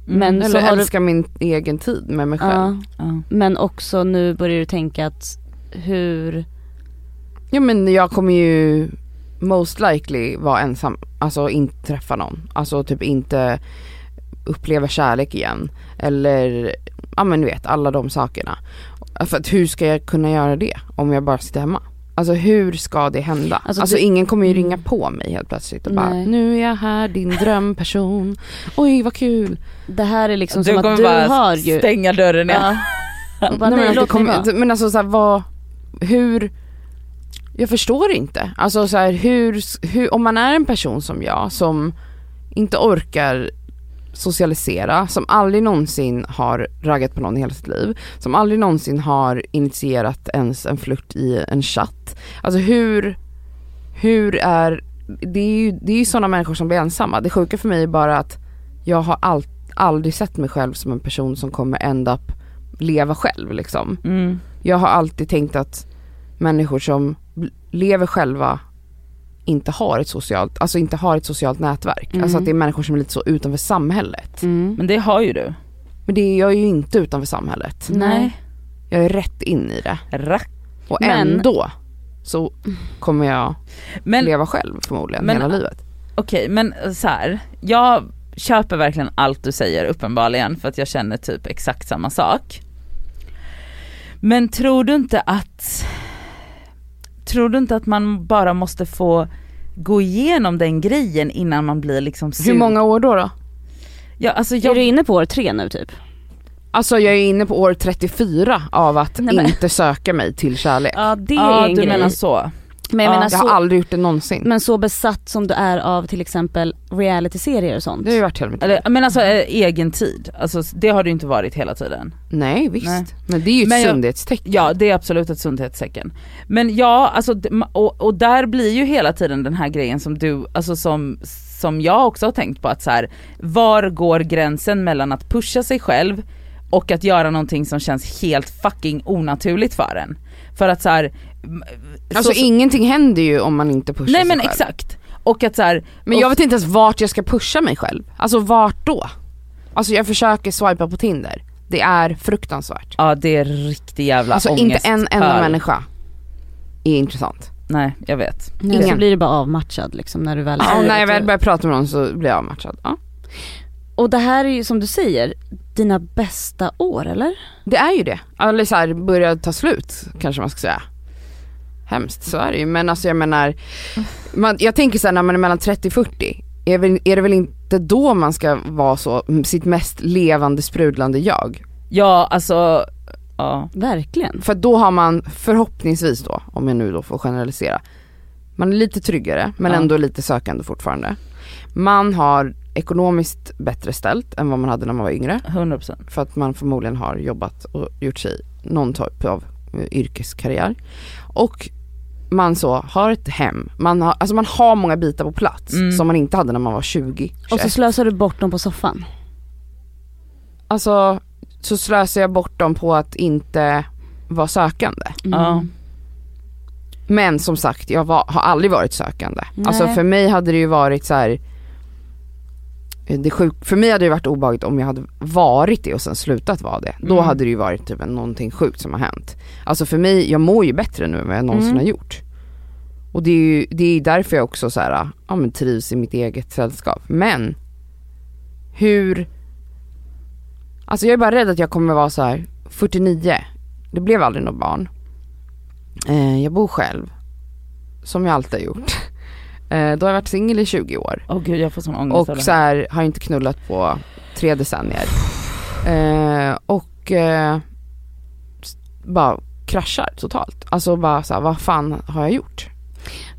[SPEAKER 4] Men så
[SPEAKER 3] Eller
[SPEAKER 4] har du,
[SPEAKER 3] älska min egen tid med mig själv. Ja,
[SPEAKER 4] ja,
[SPEAKER 2] Ja.
[SPEAKER 4] men också nu börjar du tänka att hur,
[SPEAKER 3] men jag kommer ju most likely vara ensam, alltså inte träffa någon. Alltså typ inte uppleva kärlek igen. Eller ja men du vet alla de sakerna. För att hur ska jag kunna göra det om jag bara sitter hemma? Alltså hur ska det hända?
[SPEAKER 4] Alltså,
[SPEAKER 3] Alltså,
[SPEAKER 4] du-
[SPEAKER 3] ingen kommer ju
[SPEAKER 4] Mm.
[SPEAKER 3] ringa på mig helt plötsligt och bara
[SPEAKER 4] Nej.
[SPEAKER 3] nu är jag här din drömperson, oj vad kul.
[SPEAKER 4] det här är liksom
[SPEAKER 2] du
[SPEAKER 4] som
[SPEAKER 2] kommer
[SPEAKER 4] att du
[SPEAKER 2] bara
[SPEAKER 4] har ju.
[SPEAKER 2] stänga dörren igen.
[SPEAKER 4] Ja. Och bara,
[SPEAKER 3] Nej, men,
[SPEAKER 4] nej,
[SPEAKER 3] att det
[SPEAKER 4] låt mig vara.
[SPEAKER 3] kommer, men alltså så här, vad, hur, jag förstår inte. Alltså så här, hur, hur, om man är en person som jag som inte orkar socialisera, som aldrig någonsin har raggat på någon i hela sitt liv, som aldrig någonsin har initierat ens en flört i en chatt. Alltså hur, hur är, det är ju, det är ju sådana människor som blir ensamma. Det sjuka för mig är bara att jag har all, aldrig sett mig själv som en person som kommer end up leva själv liksom.
[SPEAKER 2] Mm.
[SPEAKER 3] Jag har alltid tänkt att människor som bl- lever själva inte har ett socialt, alltså inte har ett socialt nätverk.
[SPEAKER 4] Mm.
[SPEAKER 3] Alltså att det är människor som är lite så utanför samhället.
[SPEAKER 4] Mm.
[SPEAKER 2] Men det har ju du.
[SPEAKER 3] Men det är jag är ju inte utanför samhället.
[SPEAKER 4] Nej.
[SPEAKER 3] Jag är rätt in i det.
[SPEAKER 2] Rack.
[SPEAKER 3] Och
[SPEAKER 4] Men-
[SPEAKER 3] ändå så kommer jag
[SPEAKER 2] Men
[SPEAKER 3] leva själv förmodligen
[SPEAKER 2] men-
[SPEAKER 3] hela livet.
[SPEAKER 2] Okej men så här. jag köper verkligen allt du säger uppenbarligen för att jag känner typ exakt samma sak. Men tror du inte att, tror du inte att man bara måste få gå igenom den grejen innan man blir liksom sur?
[SPEAKER 3] Hur många år då då?
[SPEAKER 2] Ja, alltså
[SPEAKER 4] Är du
[SPEAKER 2] jag,
[SPEAKER 4] inne på år tre nu typ?
[SPEAKER 3] Alltså jag är inne på år 34 av att
[SPEAKER 4] Nej, men-
[SPEAKER 3] inte söka mig till kärlek.
[SPEAKER 4] Ja det
[SPEAKER 2] ja
[SPEAKER 4] är en
[SPEAKER 2] du
[SPEAKER 4] grej.
[SPEAKER 2] menar så.
[SPEAKER 4] Men jag
[SPEAKER 2] Ja,
[SPEAKER 4] menar
[SPEAKER 3] jag har
[SPEAKER 4] så,
[SPEAKER 3] aldrig gjort det någonsin.
[SPEAKER 4] Alltså- Men så besatt som du är av till exempel reality-serier och sånt.
[SPEAKER 3] det har ju varit hela mitt liv.
[SPEAKER 2] Eller, men alltså eh, egen tid, alltså, det har du inte varit hela tiden.
[SPEAKER 3] Nej visst,
[SPEAKER 2] Nej.
[SPEAKER 3] men det är ju ett
[SPEAKER 2] Men jag-
[SPEAKER 3] sundhetstecken. Alltså,
[SPEAKER 2] Ja det är absolut ett sundhetstecken. Men ja, alltså, d- ma- och, och där blir ju hela tiden den här grejen som du, alltså som, som jag också har tänkt på att så här, var går gränsen mellan att pusha sig själv och att göra någonting som känns helt fucking onaturligt för en? För att så här, m-
[SPEAKER 3] Alltså
[SPEAKER 2] så-
[SPEAKER 3] ingenting händer ju om man inte pushar
[SPEAKER 2] Nej
[SPEAKER 3] sig
[SPEAKER 2] men
[SPEAKER 3] själv.
[SPEAKER 2] exakt. Och att så här,
[SPEAKER 3] Men jag vet inte ens vart jag ska pusha mig själv. Alltså vart då? Alltså jag försöker swipa på Tinder. Det är fruktansvärt.
[SPEAKER 2] ja det är riktig jävla
[SPEAKER 3] Alltså
[SPEAKER 2] ångest.
[SPEAKER 3] inte en enda
[SPEAKER 2] för-
[SPEAKER 3] människa är intressant.
[SPEAKER 2] Nej jag vet.
[SPEAKER 4] Nej, så
[SPEAKER 3] Ingen.
[SPEAKER 4] blir du bara avmatchad liksom när du väl
[SPEAKER 3] Ja,
[SPEAKER 4] säger
[SPEAKER 3] och när
[SPEAKER 4] att
[SPEAKER 3] jag
[SPEAKER 4] du-
[SPEAKER 3] väl börjar prata med någon så blir jag avmatchad. Ja.
[SPEAKER 4] Och det här är ju som du säger, dina bästa år eller?
[SPEAKER 3] Det är ju det. Eller så här, börjar ta slut kanske man ska säga. Hemskt, så är det ju. Men alltså jag menar, man, jag tänker så här när man är mellan 30-40, är, väl- är det väl inte då man ska vara så, m, sitt mest levande sprudlande jag?
[SPEAKER 2] Ja alltså, ja.
[SPEAKER 4] Verkligen.
[SPEAKER 3] För då har man förhoppningsvis då, om jag nu då får generalisera, man är lite tryggare men
[SPEAKER 2] Ja.
[SPEAKER 3] ändå lite sökande fortfarande. Man har ekonomiskt bättre ställt än vad man hade när man var yngre.
[SPEAKER 2] 100%.
[SPEAKER 3] för att man förmodligen har jobbat och gjort sig någon typ av eh, yrkeskarriär. Och man så har ett hem, man har, alltså man har många bitar på plats
[SPEAKER 2] Mm.
[SPEAKER 3] som man inte hade när man var 20.
[SPEAKER 4] Och så
[SPEAKER 3] 21.
[SPEAKER 4] slösar du bort dem på soffan.
[SPEAKER 3] Alltså så slösar jag bort dem på att inte vara sökande.
[SPEAKER 4] Mm.
[SPEAKER 2] Ja.
[SPEAKER 3] Men som sagt jag var, har aldrig varit sökande.
[SPEAKER 4] Nej.
[SPEAKER 3] Alltså för mig hade det ju varit så här. Det sjuk, för mig hade det varit obehagligt om jag hade varit det och sen slutat vara det. Då
[SPEAKER 2] Mm.
[SPEAKER 3] hade det ju varit typ en- någonting sjukt som har hänt. Alltså för mig, jag mår ju bättre nu än vad jag någonsin
[SPEAKER 4] Mm.
[SPEAKER 3] har gjort. Och det är ju det är därför jag också så här, ja, men trivs i mitt eget sällskap. Men hur, alltså jag är bara rädd att jag kommer vara så här 49, det blev aldrig något barn. Eh, jag bor själv, som jag alltid har gjort. Eh, då har jag varit singel i 20 år
[SPEAKER 2] Åh gud jag får sån
[SPEAKER 4] Mm.
[SPEAKER 2] ångest av
[SPEAKER 3] och
[SPEAKER 2] det
[SPEAKER 3] så
[SPEAKER 2] här.
[SPEAKER 3] här, har inte knullat på tre decennier. Eh, och eh, s- bara kraschar totalt. Alltså bara så här, vad fan har jag gjort?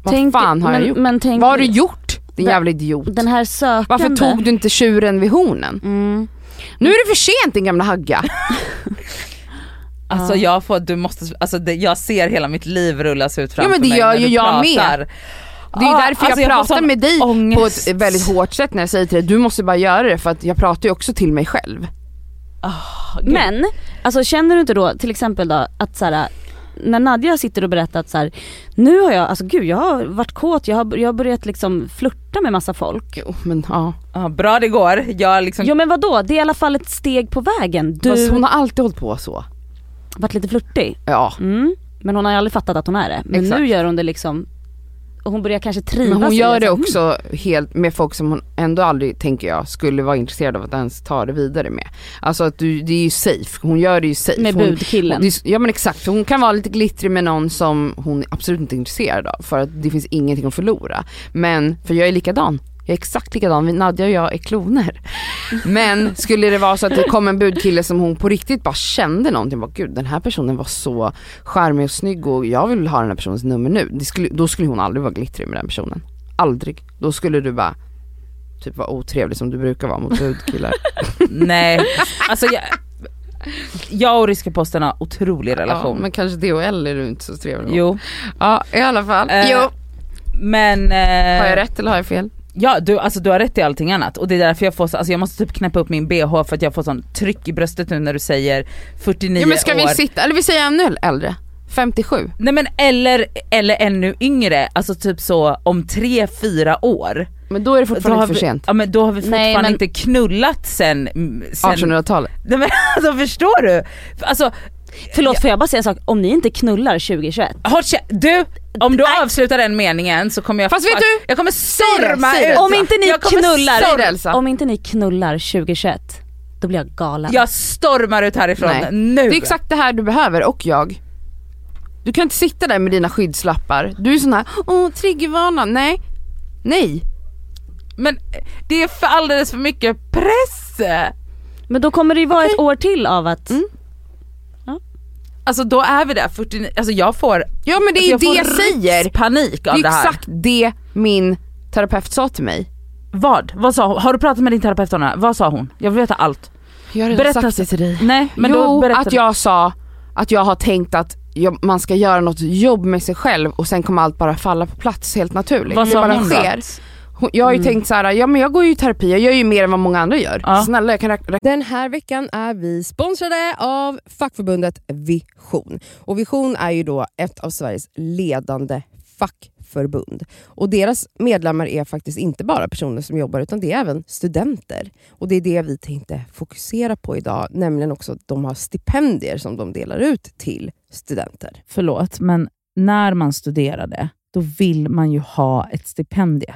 [SPEAKER 3] Vad
[SPEAKER 4] Tänk-
[SPEAKER 3] fan har
[SPEAKER 4] men,
[SPEAKER 3] jag gjort?
[SPEAKER 4] Men tänk,
[SPEAKER 3] vad har du gjort din
[SPEAKER 4] Den-
[SPEAKER 3] jävla idiot?
[SPEAKER 4] Den här sökande.
[SPEAKER 3] Varför tog du inte tjuren vid hornen?
[SPEAKER 4] Mm.
[SPEAKER 3] Nu är det för sent din gamla hagga.
[SPEAKER 2] Alltså jag får, du måste, alltså det, jag ser hela mitt liv rullas ut framför
[SPEAKER 3] Ja, men det
[SPEAKER 2] mig
[SPEAKER 3] gör
[SPEAKER 2] när
[SPEAKER 3] ju
[SPEAKER 2] du
[SPEAKER 3] jag
[SPEAKER 2] pratar.
[SPEAKER 3] Det är ju
[SPEAKER 2] Ah,
[SPEAKER 3] därför
[SPEAKER 2] alltså,
[SPEAKER 3] jag
[SPEAKER 2] får
[SPEAKER 3] pratar
[SPEAKER 2] sån
[SPEAKER 3] med dig på
[SPEAKER 2] ångest.
[SPEAKER 3] ett väldigt hårt sätt när jag säger till dig, du måste bara göra det för att jag pratar ju också till mig själv.
[SPEAKER 2] Gud.
[SPEAKER 4] Men, alltså känner du inte då till exempel då att så här, när Nadja sitter och berättar att så här, nu har jag, alltså gud jag har varit kåt, jag har, jag har börjat liksom flirta med massa folk.
[SPEAKER 3] Jo men ja.
[SPEAKER 2] Ja, bra det går, jag liksom,
[SPEAKER 4] Jo men vadå, det är i alla fall ett steg på vägen. Du
[SPEAKER 3] Fast
[SPEAKER 4] har
[SPEAKER 3] hon har alltid hållit på så.
[SPEAKER 4] varit lite flörtig.
[SPEAKER 3] Ja.
[SPEAKER 4] Mm. Men hon har ju aldrig fattat att hon är det. Men
[SPEAKER 3] Exakt.
[SPEAKER 4] nu gör hon det liksom, och hon börjar kanske trivas
[SPEAKER 3] Men hon
[SPEAKER 4] i
[SPEAKER 3] gör det
[SPEAKER 4] Mm.
[SPEAKER 3] också helt med folk som hon ändå aldrig, tänker jag, skulle vara intresserad av att ens ta det vidare med. Alltså att du, det är ju safe, hon gör det ju safe.
[SPEAKER 4] Med
[SPEAKER 3] hon,
[SPEAKER 4] budkillen.
[SPEAKER 3] det är- Ja men exakt, hon kan vara lite glittrig med någon som hon absolut inte är intresserad av för att det finns ingenting att förlora. Men, för jag är likadan. Jag är exakt likadan, Vi- Nadja och jag är kloner. Men skulle det vara så att det kom en budkille som hon på riktigt bara kände någonting, bara, gud den här personen var så charmig och snygg och jag vill ha den här personens nummer nu. Det skulle, då skulle hon aldrig vara glittrig med den personen. Aldrig. Då skulle du bara typ vara otrevlig som du brukar vara mot budkillar.
[SPEAKER 2] nej. Alltså jag, jag och ryska posten har otrolig relation.
[SPEAKER 3] Ja, men kanske DHL är du inte så trevlig mot.
[SPEAKER 2] Jo.
[SPEAKER 3] Ja i alla fall.
[SPEAKER 2] Eh, Men... eh,
[SPEAKER 3] Har jag rätt eller har jag fel?
[SPEAKER 2] Ja du, alltså, du har rätt i allting annat och det är därför jag får så, alltså, jag måste typ knäppa upp min bh för att jag får sån tryck i bröstet nu när du säger 49
[SPEAKER 3] Ja men ska
[SPEAKER 2] år.
[SPEAKER 3] vi sitta, eller vi säger ännu äldre, 57.
[SPEAKER 2] Nej men eller, eller ännu yngre, alltså typ så om 3-4 år.
[SPEAKER 3] Men då är det
[SPEAKER 2] Då
[SPEAKER 3] fortfarande
[SPEAKER 2] har
[SPEAKER 3] för
[SPEAKER 2] vi-
[SPEAKER 3] sent.
[SPEAKER 2] Ja men då har vi fortfarande
[SPEAKER 4] Nej, men-
[SPEAKER 2] inte knullat sen... sen
[SPEAKER 3] 1800-talet.
[SPEAKER 2] nej men alltså förstår du? Alltså,
[SPEAKER 4] Förlåt får jag bara säga en sak, om ni inte knullar 2021,
[SPEAKER 2] håll kä- du! Om du avslutar den meningen så kommer jag...
[SPEAKER 3] Fast vet du?
[SPEAKER 2] Jag kommer storma
[SPEAKER 3] säg det.
[SPEAKER 2] ut!
[SPEAKER 4] om inte ni
[SPEAKER 2] jag kommer
[SPEAKER 4] knullar,
[SPEAKER 3] säg det, Elsa.
[SPEAKER 4] om inte ni knullar 2021, då blir jag galen.
[SPEAKER 2] Jag stormar ut härifrån
[SPEAKER 3] Nej.
[SPEAKER 2] nu!
[SPEAKER 3] Det är exakt det här du behöver och jag. Du kan inte sitta där med dina skyddslappar. Du är sån här, åh triggervarna, nej. Nej.
[SPEAKER 2] Men det är för alldeles för mycket press!
[SPEAKER 4] Men då kommer det ju vara ett år till av att
[SPEAKER 3] Mm.
[SPEAKER 2] Alltså då är vi där 49, alltså jag får,
[SPEAKER 3] Ja men det är
[SPEAKER 2] alltså
[SPEAKER 3] det
[SPEAKER 2] jag
[SPEAKER 3] jag säger.
[SPEAKER 2] panik
[SPEAKER 3] Det
[SPEAKER 2] av
[SPEAKER 3] är
[SPEAKER 2] det, här.
[SPEAKER 3] exakt det min terapeut sa till mig.
[SPEAKER 2] Vad? Vad sa hon? Har du pratat med din terapeut om det här? Vad sa hon? Jag vill veta allt.
[SPEAKER 3] Jag har redan
[SPEAKER 2] Berätta
[SPEAKER 3] sagt det till dig.
[SPEAKER 2] Nej men
[SPEAKER 3] jo,
[SPEAKER 2] då berätta.
[SPEAKER 3] att jag sa att jag har tänkt att jag, man ska göra något jobb med sig själv och sen kommer allt bara falla på plats helt naturligt.
[SPEAKER 2] Vad
[SPEAKER 3] det
[SPEAKER 2] sa
[SPEAKER 3] bara
[SPEAKER 2] hon då? Mm.
[SPEAKER 3] sker. Hon, jag har ju tänkt så här, ja men jag går ju i terapi, jag gör ju mer än vad många andra gör.
[SPEAKER 2] Ja.
[SPEAKER 3] Snälla jag kan räkna
[SPEAKER 1] Den här veckan är vi sponsrade av fackförbundet Vision. Och Vision är ju då ett av Sveriges ledande fackförbund. Och deras medlemmar är faktiskt inte bara personer som jobbar utan det är även studenter. Och Det är det vi tänkte fokusera på idag, nämligen också att de har stipendier som de delar ut till studenter.
[SPEAKER 2] Förlåt men när man studerade då vill man ju ha ett stipendium.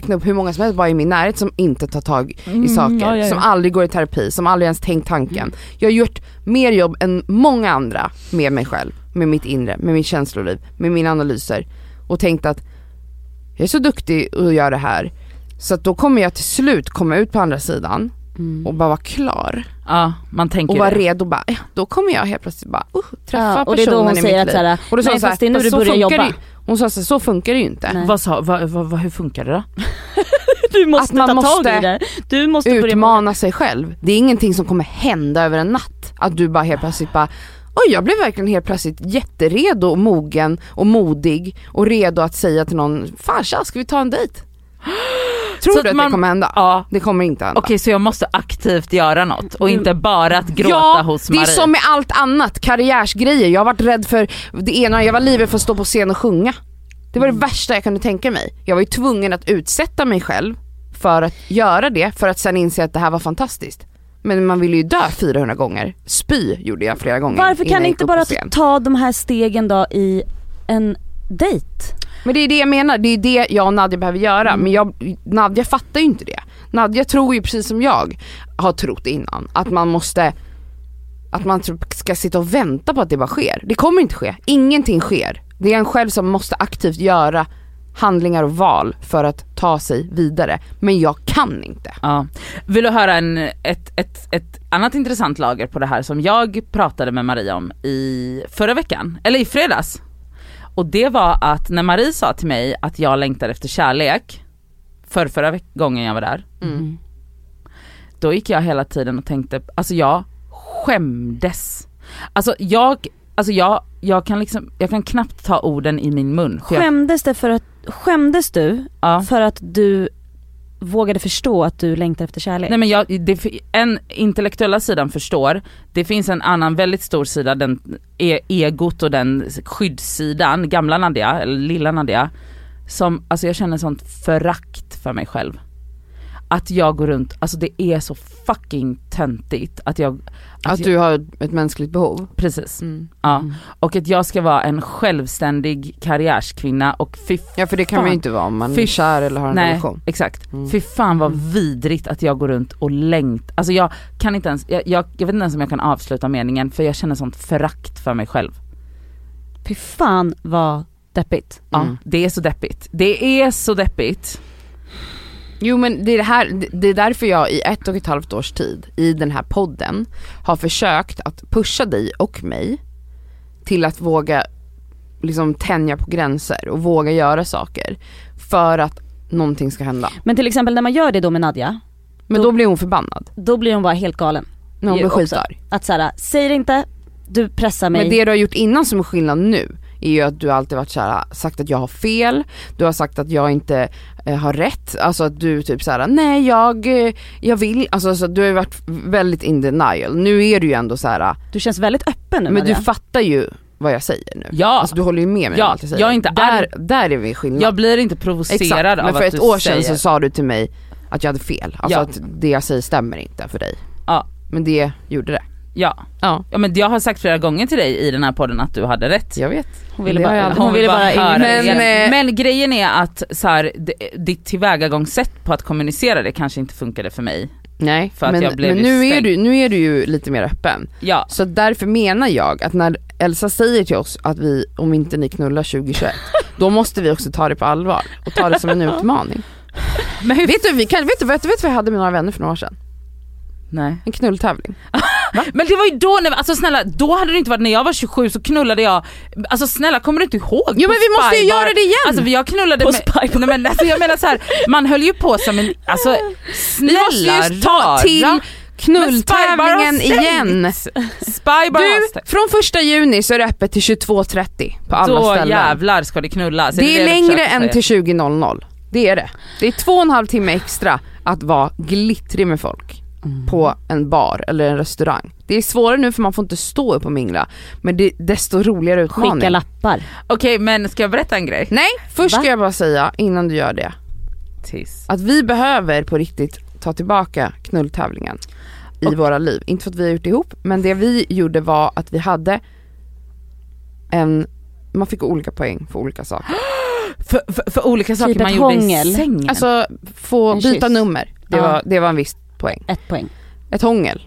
[SPEAKER 3] räkna upp hur många som helst bara i min närhet som inte tar tag
[SPEAKER 4] Mm,
[SPEAKER 3] i saker,
[SPEAKER 2] ja, ja, ja.
[SPEAKER 3] som aldrig går i terapi, som aldrig ens tänkt tanken. Jag har gjort mer jobb än många andra med mig själv, med mitt inre, med mitt känsloliv, med mina analyser och tänkt att jag är så duktig och gör det här så att då kommer jag till slut komma ut på andra sidan
[SPEAKER 4] Mm.
[SPEAKER 3] och bara vara klar
[SPEAKER 2] Ja, man tänker
[SPEAKER 3] och vara
[SPEAKER 2] det.
[SPEAKER 3] redo bara, ja, då kommer jag helt plötsligt bara uh, träffa
[SPEAKER 4] Ja, och det är då
[SPEAKER 3] personen
[SPEAKER 4] hon
[SPEAKER 3] i mitt
[SPEAKER 4] säger att
[SPEAKER 3] liv.
[SPEAKER 4] så här,
[SPEAKER 3] och då sa
[SPEAKER 4] nej
[SPEAKER 3] hon så här,
[SPEAKER 4] fast det är nu
[SPEAKER 3] "Fast
[SPEAKER 4] du
[SPEAKER 3] så
[SPEAKER 4] börjar
[SPEAKER 3] funkar det
[SPEAKER 4] jobba.
[SPEAKER 3] ju- Hon sa så här, så funkar det ju inte.
[SPEAKER 4] Nej.
[SPEAKER 2] Vad sa, vad, vad, vad, hur funkar det då?
[SPEAKER 4] Du måste
[SPEAKER 3] man
[SPEAKER 4] ta
[SPEAKER 3] måste
[SPEAKER 4] tag i det. Du måste börja med-
[SPEAKER 3] utmana sig själv. Det är ingenting som kommer hända över en natt. Att du bara helt plötsligt bara, oj jag blev verkligen helt plötsligt jätteredo och mogen och modig och redo att säga till någon, fan tja, ska vi ta en dejt?
[SPEAKER 2] Så
[SPEAKER 3] Tror du
[SPEAKER 2] att
[SPEAKER 3] att det
[SPEAKER 2] man-
[SPEAKER 3] kommer hända?
[SPEAKER 2] Ja.
[SPEAKER 3] Det kommer inte hända.
[SPEAKER 2] Okej, så jag måste aktivt göra något och inte bara att gråta
[SPEAKER 3] Mm. ja,
[SPEAKER 2] hos
[SPEAKER 3] det
[SPEAKER 2] Marie.
[SPEAKER 3] är som med allt annat, karriärsgrejer. Jag har varit rädd för det ena, jag var livrädd för att stå på scen och sjunga. Det
[SPEAKER 4] Mm.
[SPEAKER 3] var det värsta jag kunde tänka mig. Jag var ju tvungen att utsätta mig själv för att göra det, för att sen inse att det här var fantastiskt. Men man ville ju dö 400 gånger. Spy gjorde jag flera gånger innan
[SPEAKER 4] Varför kan
[SPEAKER 3] jag
[SPEAKER 4] ni inte
[SPEAKER 3] gick upp på
[SPEAKER 4] bara
[SPEAKER 3] scen.
[SPEAKER 4] ta de här stegen då i en dejt?
[SPEAKER 3] Men det är det jag menar, det är det jag och Nadja behöver göra. Men jag, Nadja fattar ju inte det. Nadja tror ju precis som jag har trott innan, att man måste att man typ ska sitta och vänta på att det bara sker. Det kommer inte ske, ingenting sker. Det är en själv som måste aktivt göra handlingar och val för att ta sig vidare. Men jag kan inte.
[SPEAKER 2] Ja. Vill du höra en, ett, ett, ett annat intressant lager på det här som jag pratade med Maria om i förra veckan, eller i fredags. Och det var att när Marie sa till mig att jag längtar efter kärlek, för förra veck- gången jag var där, då gick jag hela tiden och tänkte, alltså jag skämdes. Alltså jag, alltså jag, jag kan liksom, jag kan knappt ta orden i min mun. för jag-
[SPEAKER 4] Skämdes, det för att, skämdes du
[SPEAKER 2] ja.
[SPEAKER 4] för att du vågade förstå att du längtar efter kärlek?
[SPEAKER 2] Nej men jag, det, en intellektuella sidan förstår, det finns en annan väldigt stor sida, den e- egot och den skyddssidan, gamla Nadia, eller lilla Nadia, som, alltså jag känner sånt förakt för mig själv. Att jag går runt, alltså det är så fucking töntigt att jag, att
[SPEAKER 3] Att
[SPEAKER 2] jag,
[SPEAKER 3] du Mm. har ett mänskligt behov.
[SPEAKER 2] precis, ja. Och att jag ska vara en självständig karriärskvinna och fy
[SPEAKER 3] Ja för det kan
[SPEAKER 2] Fan.
[SPEAKER 3] man ju inte vara om man
[SPEAKER 2] Fy
[SPEAKER 3] är kär eller har en
[SPEAKER 2] Nej,
[SPEAKER 3] relation. Mm.
[SPEAKER 2] exakt. Fy fan vad vidrigt att jag går runt och längt. Alltså jag kan inte ens, jag, jag, jag vet inte ens om jag kan avsluta meningen för jag känner sånt förakt för mig själv.
[SPEAKER 4] Fy fan vad deppigt.
[SPEAKER 2] Ja,
[SPEAKER 3] Mm.
[SPEAKER 2] det är så deppigt. Det är så deppigt.
[SPEAKER 3] Jo men det är, det, här, det- det är därför jag i ett och ett halvt års tid i den här podden har försökt att pusha dig och mig till att våga liksom tänja på gränser och våga göra saker för att någonting ska hända.
[SPEAKER 4] Men till exempel när man gör det då med Nadja,
[SPEAKER 3] Men då blir hon förbannad
[SPEAKER 4] då blir hon bara helt galen.
[SPEAKER 3] när hon
[SPEAKER 4] Jo,
[SPEAKER 3] blir
[SPEAKER 4] också.
[SPEAKER 3] skitarg.
[SPEAKER 4] Att såhär, säg det inte, du pressar mig.
[SPEAKER 3] Men det du har gjort innan som är skillnad nu är ju att du alltid varit såhär, sagt att jag har fel, du har sagt att jag inte eh, har rätt, alltså att du typ såhär, nej jag, eh, jag vill, alltså så att du har ju varit väldigt in denial. Nu är du ju ändå såhär,
[SPEAKER 4] Du känns väldigt öppen nu
[SPEAKER 3] men du
[SPEAKER 4] Nadja.
[SPEAKER 3] fattar ju vad jag säger nu.
[SPEAKER 2] Ja,
[SPEAKER 3] Alltså du håller ju med mig
[SPEAKER 2] Ja,
[SPEAKER 3] om allt jag säger.
[SPEAKER 2] jag är inte
[SPEAKER 3] där,
[SPEAKER 2] arg.
[SPEAKER 3] där är vi skillnad.
[SPEAKER 2] jag blir inte provocerad
[SPEAKER 3] men
[SPEAKER 2] av
[SPEAKER 3] för
[SPEAKER 2] att
[SPEAKER 3] ett
[SPEAKER 2] du
[SPEAKER 3] år sedan
[SPEAKER 2] säger.
[SPEAKER 3] så sa du till mig att jag hade fel, alltså
[SPEAKER 2] Ja.
[SPEAKER 3] att det jag säger stämmer inte för dig.
[SPEAKER 2] Ja.
[SPEAKER 3] Men det gjorde det.
[SPEAKER 2] Ja.
[SPEAKER 3] Ja.
[SPEAKER 2] ja, men jag har sagt flera gånger till dig i den här podden att du hade rätt.
[SPEAKER 3] Jag vet.
[SPEAKER 4] Hon ville
[SPEAKER 3] Det har jag
[SPEAKER 4] bara,
[SPEAKER 3] aldrig-
[SPEAKER 4] hon ville bara,
[SPEAKER 2] höra
[SPEAKER 4] in,
[SPEAKER 2] det.
[SPEAKER 3] Men,
[SPEAKER 2] men,
[SPEAKER 3] eh,
[SPEAKER 2] grejen är att så här, det- ditt tillvägagångssätt på att kommunicera det kanske inte funkade för mig.
[SPEAKER 3] Nej,
[SPEAKER 2] För att
[SPEAKER 3] men,
[SPEAKER 2] jag blev
[SPEAKER 3] men
[SPEAKER 2] ju
[SPEAKER 3] nu, är
[SPEAKER 2] stängd.
[SPEAKER 3] du, nu är du ju lite mer öppen.
[SPEAKER 2] Ja,
[SPEAKER 3] Så därför menar jag att när Elsa säger till oss att vi, om inte ni knullar 2021, då måste vi också ta det på allvar och ta det som en utmaning.
[SPEAKER 2] men hur?
[SPEAKER 3] Vet du, vi kan, vet, du, vet du vet du vad jag hade med några vänner för några år sedan?
[SPEAKER 2] Nej.
[SPEAKER 3] En knulltävling.
[SPEAKER 2] Men det var ju då, när, alltså snälla, då hade det inte varit när jag var 27 så knullade jag, alltså snälla kommer du inte ihåg?
[SPEAKER 3] Jo
[SPEAKER 2] På
[SPEAKER 3] men vi måste ju
[SPEAKER 2] Spybar.
[SPEAKER 3] göra det igen!
[SPEAKER 2] Alltså jag knullade
[SPEAKER 4] På
[SPEAKER 2] med, nej, men alltså, jag menar så här, man höll ju på som en, alltså
[SPEAKER 3] vi
[SPEAKER 2] snälla
[SPEAKER 3] måste ju ta
[SPEAKER 2] rara.
[SPEAKER 3] till
[SPEAKER 2] Men Spybar har
[SPEAKER 3] knulltävlingen
[SPEAKER 2] stängt.
[SPEAKER 3] igen.
[SPEAKER 2] Spybar har
[SPEAKER 3] Du,
[SPEAKER 2] stängt.
[SPEAKER 3] från första juni så är det öppet till 22.30 på alla
[SPEAKER 2] Då
[SPEAKER 3] ställen.
[SPEAKER 2] jävlar ska det knullas.
[SPEAKER 3] Det är
[SPEAKER 2] du
[SPEAKER 3] längre
[SPEAKER 2] försöker
[SPEAKER 3] än
[SPEAKER 2] säga?
[SPEAKER 3] till 20.00. Det är det. Det är två och en halv timme extra att vara glittrig med folk.
[SPEAKER 4] Mm.
[SPEAKER 3] på en bar eller en restaurang. Det är svårare nu för man får inte stå upp och mingla, men det är desto roligare utmaning.
[SPEAKER 4] Skicka lappar.
[SPEAKER 2] Okej men ska jag berätta en grej?
[SPEAKER 3] Nej, först
[SPEAKER 4] Va?
[SPEAKER 3] ska jag bara säga innan du gör det,
[SPEAKER 2] Tis.
[SPEAKER 3] att vi behöver på riktigt ta tillbaka knulltävlingen i våra liv. Inte för att vi har gjort det ihop, men det vi gjorde var att vi hade en, man fick olika poäng för olika saker.
[SPEAKER 2] För, för, för olika saker
[SPEAKER 4] Typ
[SPEAKER 2] man
[SPEAKER 4] ett
[SPEAKER 2] gjorde i
[SPEAKER 4] hångel.
[SPEAKER 2] sängen.
[SPEAKER 3] Alltså få
[SPEAKER 4] En
[SPEAKER 3] byta
[SPEAKER 4] kyss.
[SPEAKER 3] nummer, det,
[SPEAKER 4] Ja.
[SPEAKER 3] var, det var en viss poäng.
[SPEAKER 4] Ett poäng.
[SPEAKER 3] Ett hångel,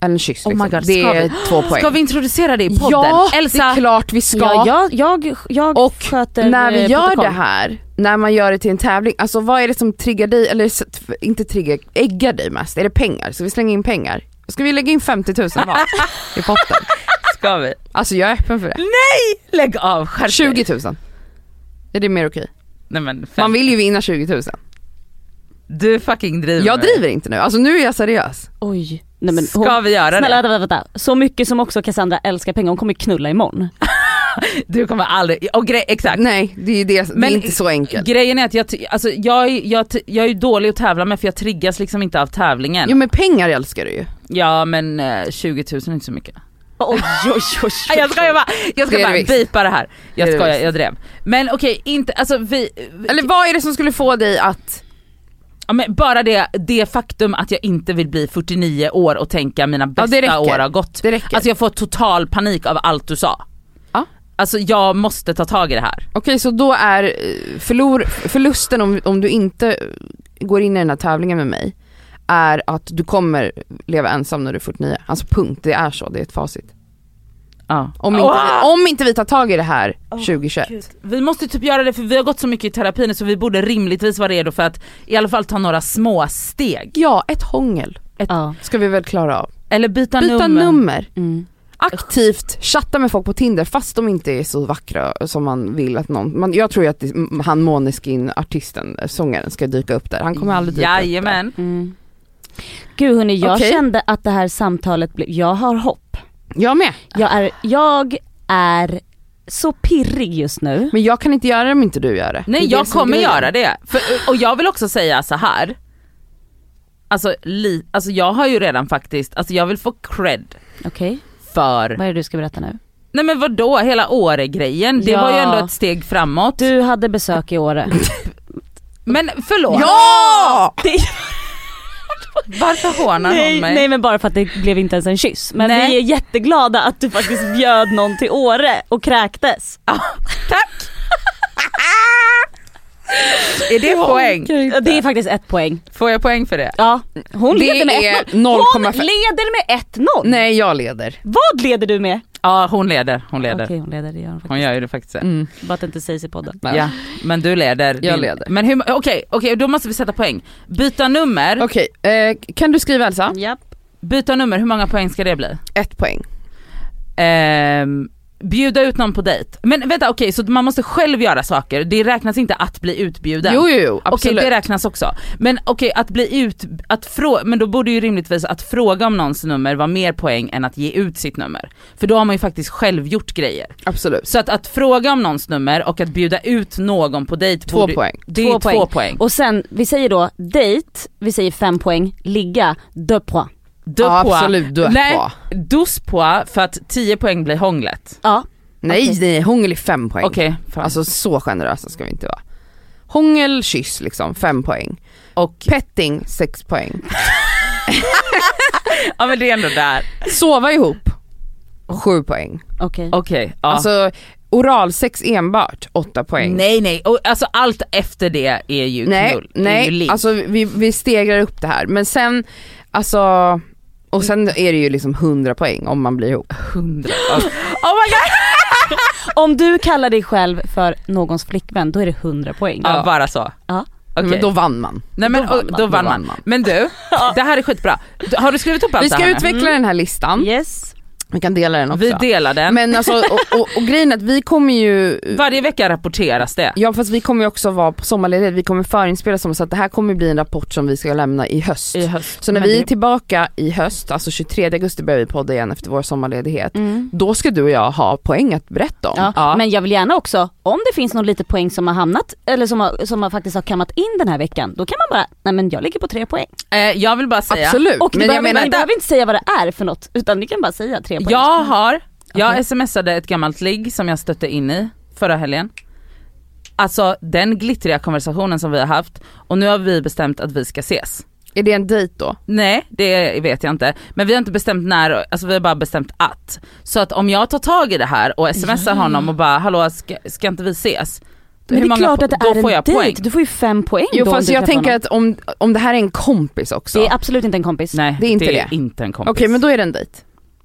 [SPEAKER 3] eller en kyss
[SPEAKER 2] Oh my
[SPEAKER 3] liksom.
[SPEAKER 2] God,
[SPEAKER 3] det
[SPEAKER 2] ska
[SPEAKER 3] är
[SPEAKER 2] vi-
[SPEAKER 3] två poäng.
[SPEAKER 2] ska vi introducera det i podden?
[SPEAKER 3] Ja, det är
[SPEAKER 2] Elsa,
[SPEAKER 3] klart vi ska.
[SPEAKER 4] Ja, jag, jag, jag
[SPEAKER 3] Och
[SPEAKER 4] sköter
[SPEAKER 3] när vi
[SPEAKER 4] eh,
[SPEAKER 3] gör
[SPEAKER 4] protokoll.
[SPEAKER 3] det här, när man gör det till en tävling, alltså vad är det som triggar dig, eller s- t- inte triggar, äggar dig mest? Är det pengar? Ska vi slänga in pengar? Ska vi lägga in 50 000 var i potten?
[SPEAKER 2] ska vi?
[SPEAKER 3] Alltså jag är öppen för det.
[SPEAKER 2] Lägg av, skärp
[SPEAKER 3] 20
[SPEAKER 2] dig.
[SPEAKER 3] 000. Är det mer okej?
[SPEAKER 2] Nej, men fem.
[SPEAKER 3] Man vill ju vinna 20 000.
[SPEAKER 2] Du fucking driver
[SPEAKER 3] Jag
[SPEAKER 2] med
[SPEAKER 3] driver inte nu, alltså nu är jag seriös.
[SPEAKER 4] Oj. Nej, men
[SPEAKER 2] mig.
[SPEAKER 4] hon,
[SPEAKER 2] Ska vi göra
[SPEAKER 4] snälla
[SPEAKER 2] det?
[SPEAKER 4] vänta, vänta. Så mycket som också Cassandra älskar pengar, hon kommer knulla imorgon.
[SPEAKER 2] Du kommer aldrig, och grej, exakt.
[SPEAKER 3] Nej, det är, ju det, det
[SPEAKER 2] Men-
[SPEAKER 3] är inte så enkelt.
[SPEAKER 2] Grejen är att jag, ty- alltså, jag, är- jag, ty- jag är ju dålig att tävla med för jag triggas liksom inte av tävlingen.
[SPEAKER 3] Jo men pengar älskar du ju.
[SPEAKER 2] Ja men eh, 20 000 är inte så mycket.
[SPEAKER 4] Oj, oj, oj,
[SPEAKER 2] Nej, jag skojar bara, jag
[SPEAKER 3] Det är
[SPEAKER 2] ska
[SPEAKER 3] det
[SPEAKER 2] bara
[SPEAKER 3] visst.
[SPEAKER 2] bipa det här. Jag
[SPEAKER 3] Det är det
[SPEAKER 2] skojar,
[SPEAKER 3] visst.
[SPEAKER 2] jag drev. Men okej, inte, alltså vi, vi-
[SPEAKER 3] Eller vad är det som skulle få dig att,
[SPEAKER 2] ja, men bara det, det faktum att jag inte vill bli 49 år och tänka mina
[SPEAKER 3] Ja,
[SPEAKER 2] bästa
[SPEAKER 3] det räcker.
[SPEAKER 2] år har gått.
[SPEAKER 3] det räcker.
[SPEAKER 2] Alltså jag får total panik av allt du sa.
[SPEAKER 3] Ja.
[SPEAKER 2] Alltså jag måste ta tag i det här.
[SPEAKER 3] Okej så då är eh, förlor, förlusten om, om du inte eh, går in i den här tävlingen med mig är att du kommer leva ensam när du är 49. Alltså punkt, det är så, det är ett facit.
[SPEAKER 2] Ja.
[SPEAKER 3] Om inte,
[SPEAKER 2] Åh!
[SPEAKER 3] om inte vi tar tag i det här 2021.
[SPEAKER 2] Vi måste typ göra det för vi har gått så mycket i terapin så vi borde rimligtvis vara redo för att i alla fall ta några små steg.
[SPEAKER 3] Ja, ett hångel
[SPEAKER 4] Ja.
[SPEAKER 3] ska vi väl klara av.
[SPEAKER 2] Eller byta,
[SPEAKER 3] Byta nummer.
[SPEAKER 2] nummer.
[SPEAKER 4] Mm.
[SPEAKER 3] Aktivt chatta med folk på Tinder fast de inte är så vackra som man vill att någon, man, jag tror ju att det- m- han Måneskin artisten, eh, sångaren ska dyka upp där. Han kommer aldrig dyka upp där.
[SPEAKER 2] Jajamän.
[SPEAKER 4] Mm. Gud hörni, jag
[SPEAKER 3] Okej.
[SPEAKER 4] kände att det här samtalet blev, jag har hopp.
[SPEAKER 3] Jag med,
[SPEAKER 4] Jag är, jag är så pirrig just nu.
[SPEAKER 3] men jag kan inte göra det om inte du gör det.
[SPEAKER 2] Nej
[SPEAKER 3] Det är
[SPEAKER 2] jag
[SPEAKER 3] det som är
[SPEAKER 2] kommer
[SPEAKER 3] grejen.
[SPEAKER 2] göra det. För, och jag vill också säga så här. Alltså, li, alltså jag har ju redan faktiskt, alltså jag vill få cred
[SPEAKER 4] Okej,
[SPEAKER 2] för,
[SPEAKER 4] vad är det du ska berätta nu?
[SPEAKER 2] nej men vadå hela Åre-grejen, det
[SPEAKER 4] Ja.
[SPEAKER 2] var ju ändå ett steg framåt.
[SPEAKER 4] Du hade besök i Åre.
[SPEAKER 2] Men förlåt,
[SPEAKER 3] Ja!
[SPEAKER 2] varför hånar hon
[SPEAKER 4] nej,
[SPEAKER 2] mig?
[SPEAKER 4] nej men bara för att det blev inte ens en kyss. Men
[SPEAKER 2] Nej.
[SPEAKER 4] vi är jätteglada att du faktiskt bjöd någon till Åre och kräktes.
[SPEAKER 2] Ah, Är det poäng?
[SPEAKER 4] Ja, Det är faktiskt ett poäng.
[SPEAKER 2] Får jag poäng för det?
[SPEAKER 4] Ja, hon
[SPEAKER 3] Det
[SPEAKER 4] leder med
[SPEAKER 3] är
[SPEAKER 4] 1-0. Hon
[SPEAKER 3] 0,5.
[SPEAKER 4] leder med 1-0.
[SPEAKER 3] Nej jag leder.
[SPEAKER 4] Vad leder du med?
[SPEAKER 2] Ja hon leder, hon leder.
[SPEAKER 4] Okej hon leder, det gör hon faktiskt.
[SPEAKER 2] Hon gör ju det faktiskt.
[SPEAKER 4] Bara att det inte sägs i podden.
[SPEAKER 3] Nej.
[SPEAKER 2] Mm. Ja, men du leder.
[SPEAKER 3] Jag leder.
[SPEAKER 2] Men hur, okej, okej, då måste vi sätta poäng. Byta nummer,
[SPEAKER 3] Okej, eh, kan du skriva Elsa?
[SPEAKER 4] Japp.
[SPEAKER 2] byta nummer, hur många poäng ska det bli?
[SPEAKER 3] Ett poäng.
[SPEAKER 2] Ehm, bjuda ut någon på dejt. Men vänta okej, så man måste själv göra saker, det räknas inte att bli utbjuden?
[SPEAKER 3] Jo jo jo,
[SPEAKER 2] Okej
[SPEAKER 3] absolut.
[SPEAKER 2] det räknas också. Men okej att bli ut, att frå, men då borde ju rimligtvis att fråga om någons nummer vara mer poäng än att ge ut sitt nummer. För då har man ju faktiskt själv gjort grejer.
[SPEAKER 3] absolut.
[SPEAKER 2] Så att, att fråga om någons nummer och att bjuda ut någon på dejt
[SPEAKER 3] Två
[SPEAKER 2] borde,
[SPEAKER 3] poäng.
[SPEAKER 2] Det
[SPEAKER 4] Två
[SPEAKER 2] är två
[SPEAKER 4] poäng.
[SPEAKER 2] poäng.
[SPEAKER 4] Och sen, vi säger då dejt, vi säger fem poäng, ligga, deux points.
[SPEAKER 2] Deux
[SPEAKER 3] ja,
[SPEAKER 2] points.
[SPEAKER 3] absolut, du är
[SPEAKER 2] Nej,
[SPEAKER 3] på.
[SPEAKER 2] dos points för att 10 poäng blir hånglet.
[SPEAKER 4] Ja.
[SPEAKER 3] Nej
[SPEAKER 4] Okej.
[SPEAKER 3] nej, hångel är fem poäng.
[SPEAKER 2] Okej, fan.
[SPEAKER 3] Alltså så generösa ska vi inte vara. Hångel, kyss liksom, fem poäng.
[SPEAKER 2] och,
[SPEAKER 3] Petting, sex poäng.
[SPEAKER 2] ja men det är ändå där.
[SPEAKER 3] Sova ihop, sju poäng.
[SPEAKER 4] Okej.
[SPEAKER 2] Okej, ja.
[SPEAKER 3] Alltså oralsex enbart, åtta poäng.
[SPEAKER 2] Nej nej, och, alltså allt efter det är ju
[SPEAKER 3] nej,
[SPEAKER 2] knull. Det är ju
[SPEAKER 3] nej.
[SPEAKER 2] ligg.
[SPEAKER 3] alltså vi, vi stegrar upp det här. Men sen, alltså, och sen är det ju liksom hundra poäng om man blir ihop.
[SPEAKER 2] 100. Oh my god!
[SPEAKER 4] Om du kallar dig själv för någons flickvän, då är det 100 poäng.
[SPEAKER 2] Ja, bara så.
[SPEAKER 4] Ja.
[SPEAKER 2] Okej.
[SPEAKER 3] Men då vann man.
[SPEAKER 2] nej men
[SPEAKER 3] då vann
[SPEAKER 2] och-
[SPEAKER 3] man,
[SPEAKER 2] då
[SPEAKER 3] då
[SPEAKER 2] vann
[SPEAKER 3] vann
[SPEAKER 2] man.
[SPEAKER 3] man.
[SPEAKER 2] Men du, det här är skitbra. Du- Har du skrivit upp allt
[SPEAKER 3] Vi
[SPEAKER 2] det
[SPEAKER 3] ska
[SPEAKER 2] här nu?
[SPEAKER 3] utveckla den här listan.
[SPEAKER 4] Yes.
[SPEAKER 3] Vi kan dela den också.
[SPEAKER 2] Vi delar den.
[SPEAKER 3] Men alltså, och, och, och grejen är att vi kommer ju
[SPEAKER 2] Varje vecka rapporteras det.
[SPEAKER 3] Ja fast vi kommer ju också vara på sommarledighet, vi kommer förinspela som så att det här kommer bli en rapport som vi ska lämna i höst.
[SPEAKER 4] i höst.
[SPEAKER 3] Så när
[SPEAKER 4] Men
[SPEAKER 3] vi är
[SPEAKER 4] det-
[SPEAKER 3] tillbaka i höst, alltså 23 augusti börjar vi podda igen efter vår sommarledighet.
[SPEAKER 4] Mm.
[SPEAKER 3] Då ska du och jag ha poäng att berätta om.
[SPEAKER 4] Ja.
[SPEAKER 2] Ja.
[SPEAKER 4] Men jag vill gärna också, om det finns någon liten poäng som har hamnat, eller som, har, som har faktiskt har kammat in den här veckan, då kan man bara, nej men jag ligger på tre poäng.
[SPEAKER 2] Eh, jag vill bara säga.
[SPEAKER 3] Absolut,
[SPEAKER 4] Och ni
[SPEAKER 3] Eh, men jag
[SPEAKER 4] behöver,
[SPEAKER 3] menar,
[SPEAKER 4] ni behöver inte säga vad det är för något, utan ni kan bara säga tre poäng.
[SPEAKER 2] Jag har, jag
[SPEAKER 4] Okej.
[SPEAKER 2] smsade ett gammalt ligg som jag stötte in i förra helgen. Alltså den glittriga konversationen som vi har haft och nu har vi bestämt att vi ska ses.
[SPEAKER 3] är det en dejt då?
[SPEAKER 2] Nej det vet jag inte. Men vi har inte bestämt när, alltså vi har bara bestämt att. Så att om jag tar tag i det här och smsar honom och bara hallå ska, ska inte vi ses?
[SPEAKER 4] Men
[SPEAKER 2] Hur
[SPEAKER 4] det är
[SPEAKER 2] många
[SPEAKER 4] klart
[SPEAKER 2] po-
[SPEAKER 4] att det
[SPEAKER 2] då
[SPEAKER 4] är
[SPEAKER 2] får
[SPEAKER 4] en
[SPEAKER 2] jag poäng.
[SPEAKER 4] dejt, du får ju fem poäng
[SPEAKER 3] Jo
[SPEAKER 4] då om
[SPEAKER 3] fast
[SPEAKER 4] du
[SPEAKER 3] jag
[SPEAKER 4] träffar
[SPEAKER 3] tänker
[SPEAKER 4] honom.
[SPEAKER 3] att om, om det här är en kompis också.
[SPEAKER 4] Det är
[SPEAKER 3] Okej
[SPEAKER 4] absolut inte en kompis.
[SPEAKER 2] Nej
[SPEAKER 3] Det är inte det.
[SPEAKER 2] är inte en kompis.
[SPEAKER 3] men då är det en dejt.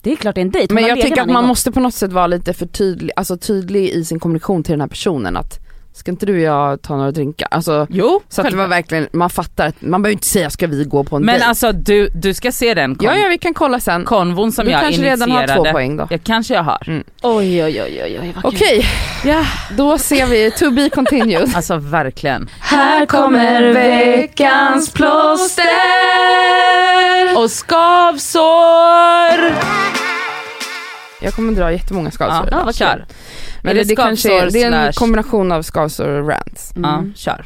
[SPEAKER 4] Det är klart det är en dejt.
[SPEAKER 3] Men
[SPEAKER 4] Hon har
[SPEAKER 3] jag
[SPEAKER 4] legat
[SPEAKER 3] tycker
[SPEAKER 4] med
[SPEAKER 3] att
[SPEAKER 4] honom
[SPEAKER 3] man
[SPEAKER 4] en gång.
[SPEAKER 3] måste på något sätt vara lite för tydlig, alltså tydlig i sin kommunikation till den här personen att ska inte du och jag ta några drinkar? Alltså,
[SPEAKER 2] Jo,
[SPEAKER 3] så att det var
[SPEAKER 2] självklart.
[SPEAKER 3] verkligen, man fattar att man behöver inte säga ska vi gå på en
[SPEAKER 2] Men
[SPEAKER 3] dejt?
[SPEAKER 2] alltså du, du ska se den kon-
[SPEAKER 3] ja, ja vi kan kolla sen.
[SPEAKER 2] konvon som
[SPEAKER 3] du
[SPEAKER 2] jag
[SPEAKER 3] kanske
[SPEAKER 2] initierade.
[SPEAKER 3] redan har två poäng då. Mm.
[SPEAKER 2] Jag kanske jag har.
[SPEAKER 4] Oj oj oj oj, oj vad kul.
[SPEAKER 3] Okej, då ser vi to be continued.
[SPEAKER 2] Alltså verkligen.
[SPEAKER 4] Här kommer veckans plåster.
[SPEAKER 2] Och skavsår!
[SPEAKER 3] Jag kommer dra jättemånga skavsår.
[SPEAKER 4] Ja, vad
[SPEAKER 2] kör.
[SPEAKER 3] Men
[SPEAKER 2] är
[SPEAKER 3] det,
[SPEAKER 2] det
[SPEAKER 3] det, kanske är,
[SPEAKER 2] skavsår
[SPEAKER 3] det är en
[SPEAKER 2] slash-
[SPEAKER 3] kombination av skavsår och rants.
[SPEAKER 4] Mm.
[SPEAKER 2] Ja, kör.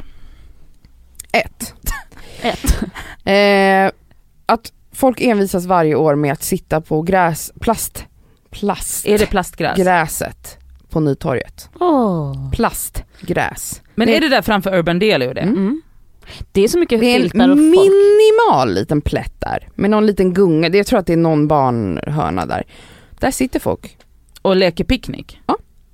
[SPEAKER 3] Ett.
[SPEAKER 4] Ett.
[SPEAKER 3] Eh, att folk envisas varje år med att sitta på gräs, plast, plast,
[SPEAKER 2] Är det plastgräs?
[SPEAKER 3] gräset på Nytorget.
[SPEAKER 4] Åh.
[SPEAKER 3] Plastgräs.
[SPEAKER 2] Men
[SPEAKER 3] Nej.
[SPEAKER 2] är det där framför Urban Deli och det?
[SPEAKER 3] Mm.
[SPEAKER 4] Mm. Det är så mycket
[SPEAKER 3] Det är
[SPEAKER 4] filtar
[SPEAKER 3] en
[SPEAKER 4] och folk.
[SPEAKER 3] minimal liten plätt där med någon liten gunga, Det- jag tror att det är någon barnhörna där. Där sitter folk
[SPEAKER 2] Och leker picknick?